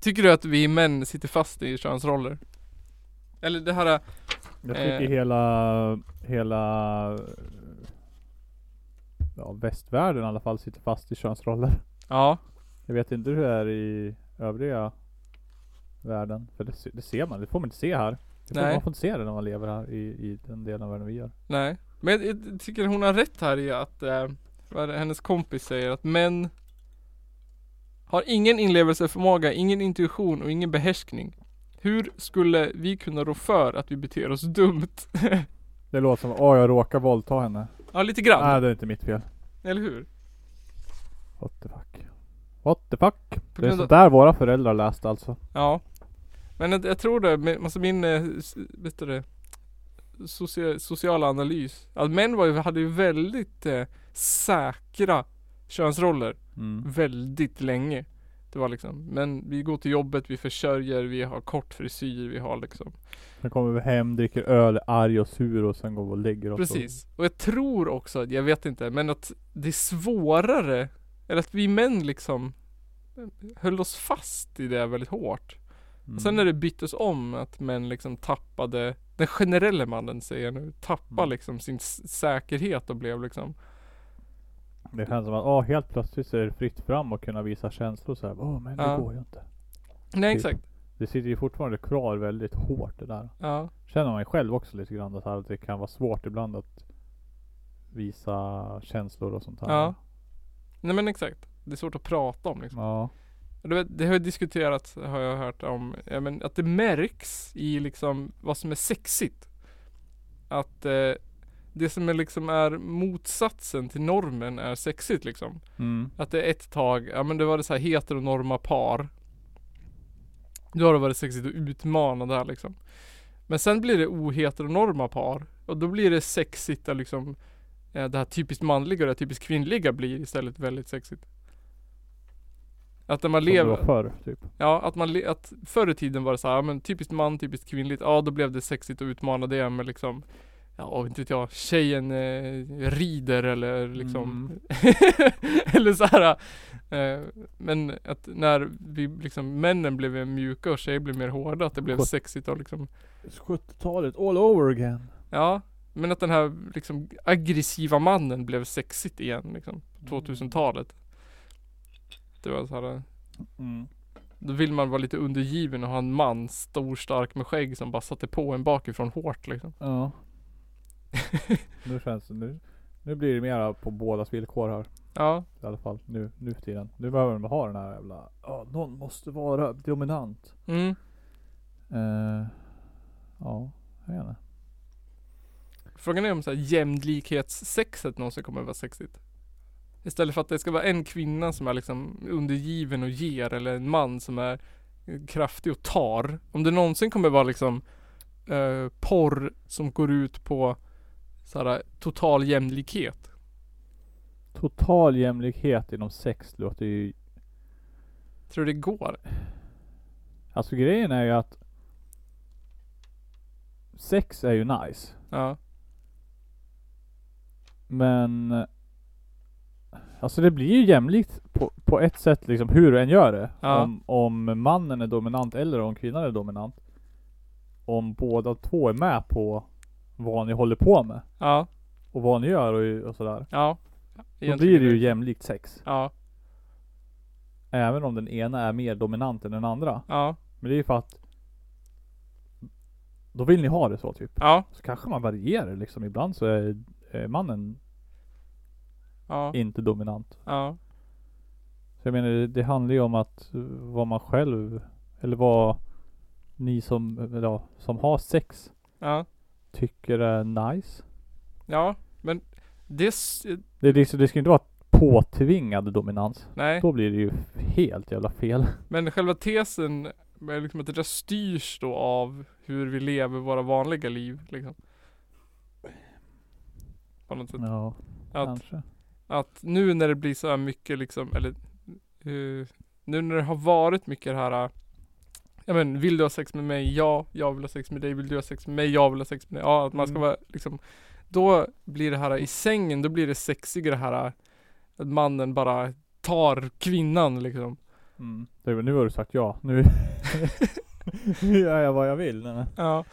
A: Tycker du att vi män sitter fast i könsroller? Eller det här,
B: Jag
A: Eh.
B: tycker hela, hela eh, ja, västvärlden i alla fall sitter fast i könsroller.
A: ja.
B: Jag vet inte hur det är i övriga världen. För det, se- det ser man, det får man inte se här. Det får,
A: Nej.
B: man får inte se det när man lever här i, i den delen av världen vi gör.
A: Nej, men jag, jag tycker hon har rätt här i att eh, vad är det, hennes kompis säger att män har ingen inlevelseförmåga, ingen intuition och ingen behärskning. Hur skulle vi kunna rå för att vi beter oss dumt?
B: Det låter som, åh jag råkar våldta henne.
A: Ja, lite grann.
B: Nej det är inte mitt fel.
A: Eller hur?
B: What the fuck. What the fuck.
A: På
B: Det är
A: grund av-
B: sånt där våra föräldrar läste alltså.
A: Ja. Men jag, jag tror det, men- alltså min, eh, s- vet du det, socia, sociala analys. Att män var ju, hade ju väldigt eh, säkra könsroller
B: Mm.
A: väldigt länge. Det var liksom, men vi går till jobbet, vi försörjer, vi har kort frisyr, vi har liksom.
B: Sen kommer vi hem, dricker öl, är arg och sur och sen går vi och lägger oss.
A: Precis. Och jag tror också, jag vet inte, men att det är svårare, eller att vi män liksom höll oss fast i det väldigt hårt.
B: Och, mm.
A: Och sen när det byttes om att män liksom tappade Den generella mannen säger jag nu Tappade
B: Mm.
A: liksom sin s- säkerhet och blev liksom
B: Det känns som att åh, helt plötsligt så är det fritt fram och kunna visa känslor så här. Åh men det
A: Ja.
B: går ju inte.
A: Nej
B: Typ.
A: exakt
B: Det sitter ju fortfarande kvar väldigt hårt det där.
A: Ja
B: Känner man ju själv också lite grann att här att det kan vara svårt ibland att visa känslor och sånt här.
A: Ja. Nej men exakt Det är svårt att prata om liksom
B: Ja.
A: Och du vet, Det har ju diskuterats har jag hört om ja, men Att det märks i liksom vad som är sexigt Att eh, det som är liksom är motsatsen till normen är sexigt liksom
B: Mm.
A: Att det är ett tag, ja men det var det så här heteronorma par. Då har det varit sexigt att utmana det här liksom. Men sen blir det oheteronorma par. Och då blir det sexigt att liksom eh, det här typiskt manliga och det här typiskt kvinnliga blir istället väldigt sexigt. Att när man
B: Som det var
A: lever,
B: förr typ.
A: ja att man, le- att förr i tiden var det så här, ja, men typiskt man, typiskt kvinnligt. Ja då blev det sexigt att utmana det med liksom, ja inte vet jag, tjejen eh, rider eller liksom
B: Mm.
A: Eller så här. Eh, men att när vi liksom, männen blev mer mjuka och tjejer blev mer hårda, att det blev
B: Sjut-
A: sexigt och liksom
B: 70-talet all over again.
A: Ja, men att den här liksom aggressiva mannen blev sexigt igen liksom,
B: Mm.
A: på 2000-talet. Det var så här, eh,
B: Mm.
A: då vill man vara lite undergiven och ha en man, stor, stark med skägg som bara satte på en bakifrån hårt liksom.
B: Ja. nu känns det nu. Nu blir det mera på bådas villkor här.
A: Ja.
B: I alla fall nu, nu för tiden. Nu behöver de ha den här jävla, ja någon måste vara dominant.
A: Mm.
B: Eh, ja, jag vet inte.
A: Frågan är om så här jämlikhetssexet någonsin kommer att vara sexigt. Istället för att det ska vara en kvinna som är liksom undergiven och ger eller en man som är kraftig och tar. Om det någonsin kommer att vara liksom eh, porr som går ut på så här, total jämlikhet.
B: Total jämlikhet inom sex låter ju
A: Tror du det går?
B: Alltså grejen är ju att Sex är ju nice.
A: Ja.
B: Men Alltså det blir ju jämlikt på, på ett sätt liksom hur du än gör det.
A: Ja.
B: Om, om mannen är dominant eller om kvinnan är dominant. Om båda två är med på vad ni håller på med
A: Ja.
B: och vad ni gör och, och sådär.
A: Ja.
B: Då
A: Egentligen
B: blir det
A: är
B: ju jämlikt sex.
A: Ja.
B: Även om den ena är mer dominant än den andra.
A: Ja.
B: Men det är ju för att Då vill ni ha det så typ.
A: Ja.
B: Så kanske man varierar liksom. Ibland så är eh, mannen
A: Ja.
B: inte dominant.
A: Ja.
B: Så jag menar det, det handlar ju om att eh, vad man själv Eller vad Ni som, eh, ja, som har sex
A: Ja.
B: Tycker är nice.
A: Ja. Men det... s-
B: Det, är liksom, det ska ju inte vara påtvingad dominans.
A: Nej.
B: Då blir det ju helt jävla fel.
A: Men själva tesen är liksom att det där styrs då av hur vi lever våra vanliga liv liksom. På något sätt.
B: Ja,
A: Att,
B: kanske.
A: att nu när det blir så här mycket liksom, eller eh, nu när det har varit mycket det här eh, Ja men vill du ha sex med mig? Ja, jag vill ha sex med dig. Vill du ha sex med mig? Jag vill ha sex med dig. Ja, att man ska
B: Mm.
A: vara liksom Då blir det här eh, i sängen, då blir det sexigare det här eh, att mannen bara tar kvinnan liksom.
B: Mm. Det, är väl- nu har du sagt ja. Nu, nu gör jag vad jag vill. Nej, nej.
A: Ja.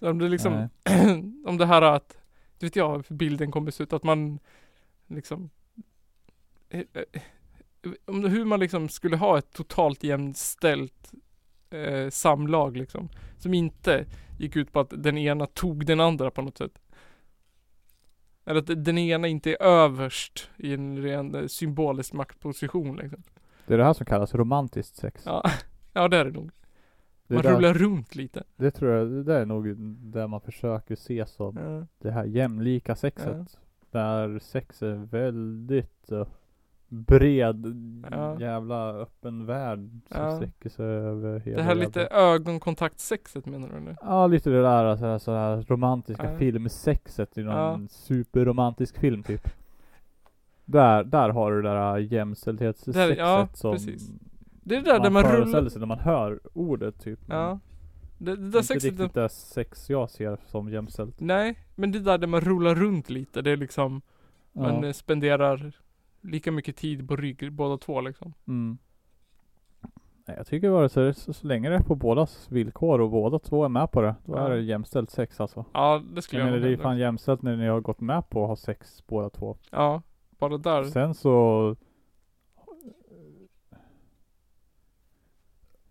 A: Om det liksom
B: Nej.
A: om det här att, du vet jag hur bilden kommer se ut, att man liksom eh, eh, om det- hur man liksom skulle ha ett totalt jämställt eh, samlag liksom. Som inte gick ut på att den ena tog den andra på något sätt. Eller att den ena inte är överst i en ren eh, symbolisk maktposition liksom.
B: det är det här som kallas romantiskt sex.
A: Ja, ja det är det nog.
B: det,
A: Man
B: är där,
A: rullar runt lite.
B: det tror jag, det där är nog där man försöker se som
A: Ja.
B: det här jämlika sexet. Där sex är väldigt eh, bred
A: Ja.
B: jävla öppen värld som
A: Ja.
B: sträcker sig över hela
A: Det här
B: jävla-
A: lite ögonkontaktsexet menar du eller?
B: Ja lite det där sådär, sådär romantiska
A: Ja.
B: filmsexet i någon
A: Ja.
B: superromantisk film typ. Där, där har du det där jämställdhetssexet
A: Där- ja,
B: som
A: precis. Det är det där där man rullar
B: föreställer sig när man hör ordet typ. men
A: Ja. Det, det där
B: Inte
A: sexet,
B: riktigt det sex jag ser som jämställt.
A: nej, men det där där man rullar runt lite, det är liksom,
B: Ja.
A: man eh, spenderar lika mycket tid på rygg, båda två liksom.
B: Mm. Nej, jag tycker bara så, så, så länge det är på bådas villkor och båda två är med på det, då är
A: Ja.
B: det jämställt sex alltså.
A: Ja, det skulle
B: Jag
A: jag,
B: menar det
A: nog
B: är ju
A: hellre.
B: fan jämställt när ni har gått med på att ha sex båda två.
A: Ja, bara där.
B: Sen så...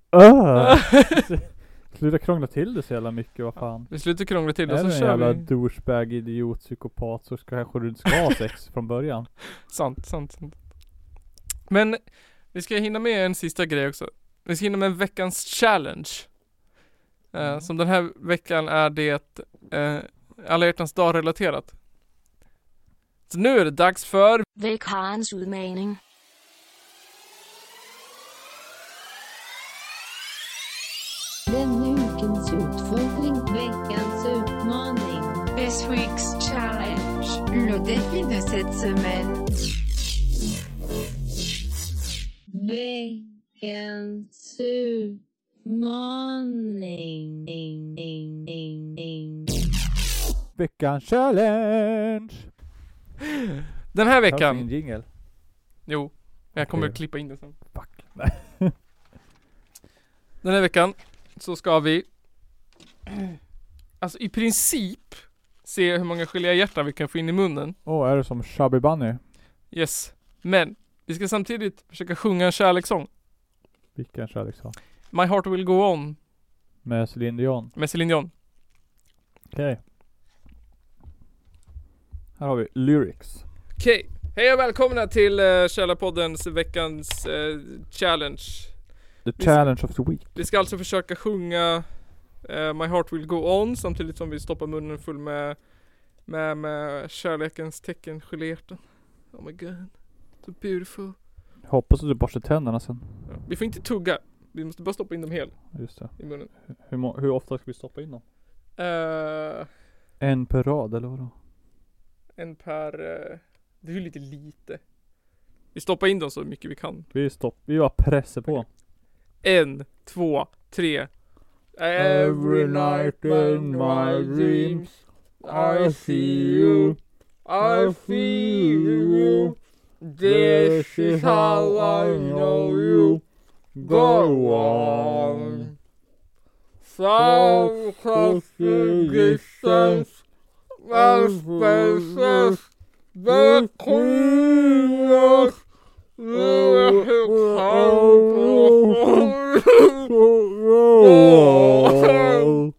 A: Ah!
B: Öh! Sluta krångla till det så jävla mycket, vad fan.
A: Vi slutar krångla till och
B: Är
A: så
B: du en
A: kör
B: jävla
A: vi.
B: douchebag, idiot, psykopat så ska- kanske du inte ska ha sex från början.
A: Sant, sant, sant. Men vi ska hinna med en sista grej också. Vi ska hinna med veckans challenge. Eh,
B: Mm.
A: Som den här veckan är det eh, alla hjärtans dag relaterat. Så nu är det dags för
C: Vekarens udmaning.
D: Den ukens utfordring, veckans utmaning,
E: This week's challenge.
D: le défi de cette semaine. Veckans utmaning. Ding, ding, ding, ding.
B: Veckans challenge!
A: den här
B: Behövs
A: veckan.
B: ingen jingle.
A: Jo, men jag kommer
B: Okej.
A: att klippa in det sen.
B: Fuck.
A: Den här veckan så ska vi Alltså i princip se hur många geléhjärtan vi kan få in i munnen.
B: Åh, är det som Chubby Bunny?
A: Yes. Men vi ska samtidigt försöka sjunga en kärlekssång.
B: Vilken kärlekssång?
A: My heart will go on
B: Med Céline Dion.
A: med Céline Dion.
B: Okej. Här har vi lyrics.
A: Okej, Hej och välkomna till uh, Källarpoddens veckans eh, challenge.
B: The
A: Vi-
B: challenge of the week.
A: Vi ska alltså försöka sjunga eh, My Heart Will Go On samtidigt som vi stoppar munnen full med, med, med kärlekens tecken, geléhjärtan. Oh my god, so beautiful.
B: Hoppas att du borstar tänderna sen.
A: Ja. Vi får inte tugga, vi måste bara stoppa in dem helt
B: Just det.
A: i munnen.
B: Hur, må- hur ofta ska vi stoppa in dem?
A: Eh,
B: En per rad eller vadå?
A: en per, eh, det är ju lite lite. Vi stoppar in dem så mycket vi kan.
B: Vi stopp, vi bara pressar på.
A: En, två, tre.
B: Every night in my dreams, I see you. I feel you. This is how I know you. Go on.
A: Some
B: social distance and spaces between us.
A: Oh.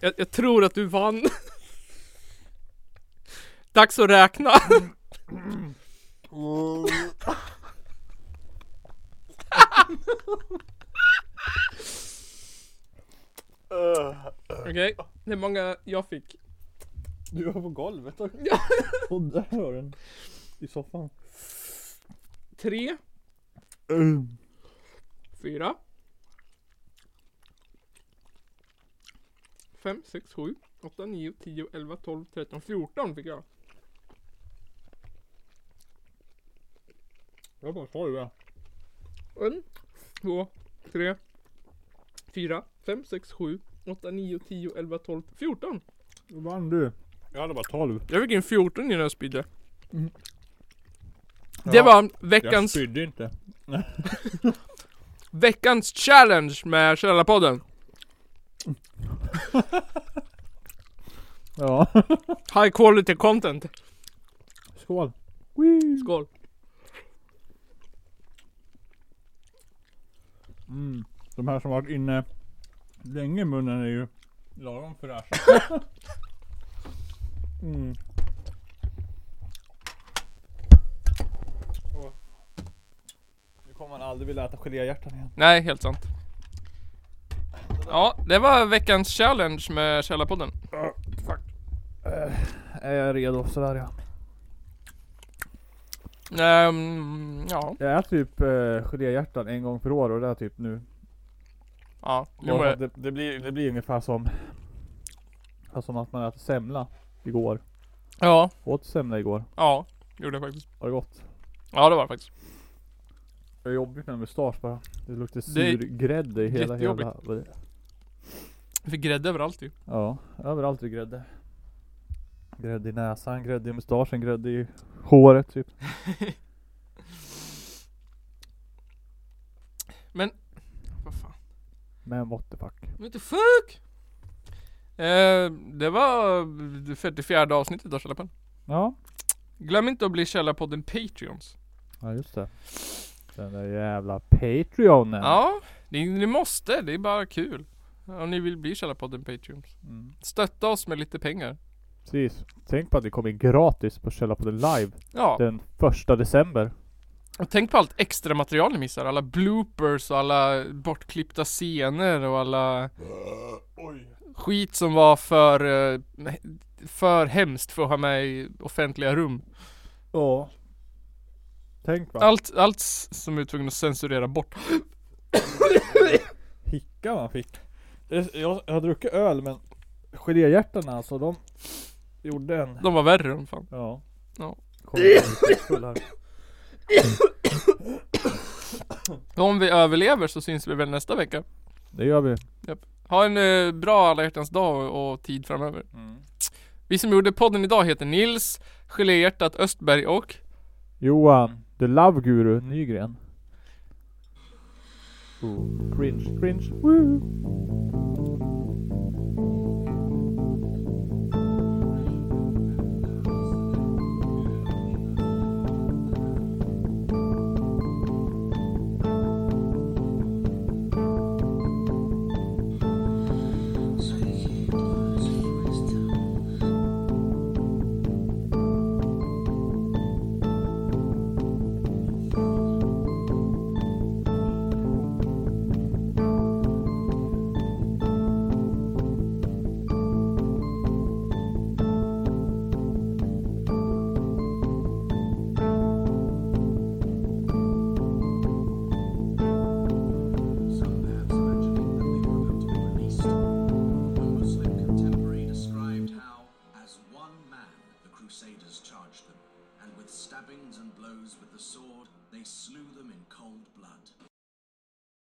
A: Jag, jag tror att du vann. Dags att räkna. Okej, hur många jag fick?
B: Du var på golvet och, och där var den. I soffan.
A: Tre, fyra. Fem, sex, sju, åtta, nio, tio, elva, tolv, tretton, fjorton fick jag.
B: Jag bara sa ju det.
A: En, två, tre, fyra, fem, sex, sju, åtta, nio, tio, elva, tolv, fjorton.
B: Då vann du. Jag hade bara 12.
A: Jag fick en 14 innan jag spydde.
B: Ja.
A: Det var
B: Jag
A: veckans,
B: spydde inte.
A: veckans challenge med Källarpodden.
B: Ja.
A: High quality content.
B: Skål.
A: Skål.
B: Mm. De här som varit inne länge i munnen är ju lagom fräscha. mm. Åh. Nu kommer man aldrig vilja äta geléhjärtan igen.
A: Nej, helt sant. Ja, det var veckans challenge med Källarpodden.
B: Eh, Är jag redo? Sådär ja.
A: Ehm, ja,
B: Jag äter typ eh, geléhjärtan en gång per år och det är typ nu.
A: ja. Jo,
B: Och
A: men,
B: det, det, blir, det blir ungefär som, fast som att man äter semla igår.
A: ja,
B: Åt semla igår.
A: ja. Gjorde jag faktiskt.
B: Var det gott?
A: Ja, det var det faktiskt.
B: Det är jobbigt med mustasch bara. Det luktar
A: Det är
B: surgrädde i hela jävla...
A: jättejobbigt. Jag fick grädde överallt ju.
B: Ja, överallt är grädde. Grädde i näsan, grädde i mustaschen, grädde i håret typ.
A: Vad fan.
B: Men what the fuck.
A: Men inte fuck! Eh, det var det 44 avsnittet av Källarpodden.
B: Ja.
A: Glöm inte att bli Källarpodden Patreons.
B: Ja just det. Den där jävla Patreonen.
A: Ja, ni, ni måste. Det är bara kul. Om ni vill bli Källarpodden Patreons.
B: Mm.
A: Stötta oss med lite pengar.
B: Precis. Tänk på att det kommer gratis på Källarpodden live
A: Ja,
B: den första december.
A: och tänk på allt extra material ni missar. Alla bloopers och alla bortklippta scener och alla skit som var för, eh, för hemskt för att ha med i offentliga rum.
B: Ja. Tänk va.
A: Allt, allt s- som vi är tvungna att censurera bort.
B: hicka man fick. Det- Jag, jag har druckit öl men geléhjärtarna alltså de gjorde en...
A: De var värre än fan.
B: Ja.
A: Ja.
B: Kommer jag bli full här.
A: Om vi överlever så syns vi väl nästa vecka.
B: Det gör vi.
A: Ha en eh, bra alla hjärtans dag och, och tid framöver.
B: Mm.
A: Vi som gjorde podden idag heter Nils, Geléhjärtat Östberg och
B: Johan, the love guru Nygren. Ooh, cringe, cringe, woo.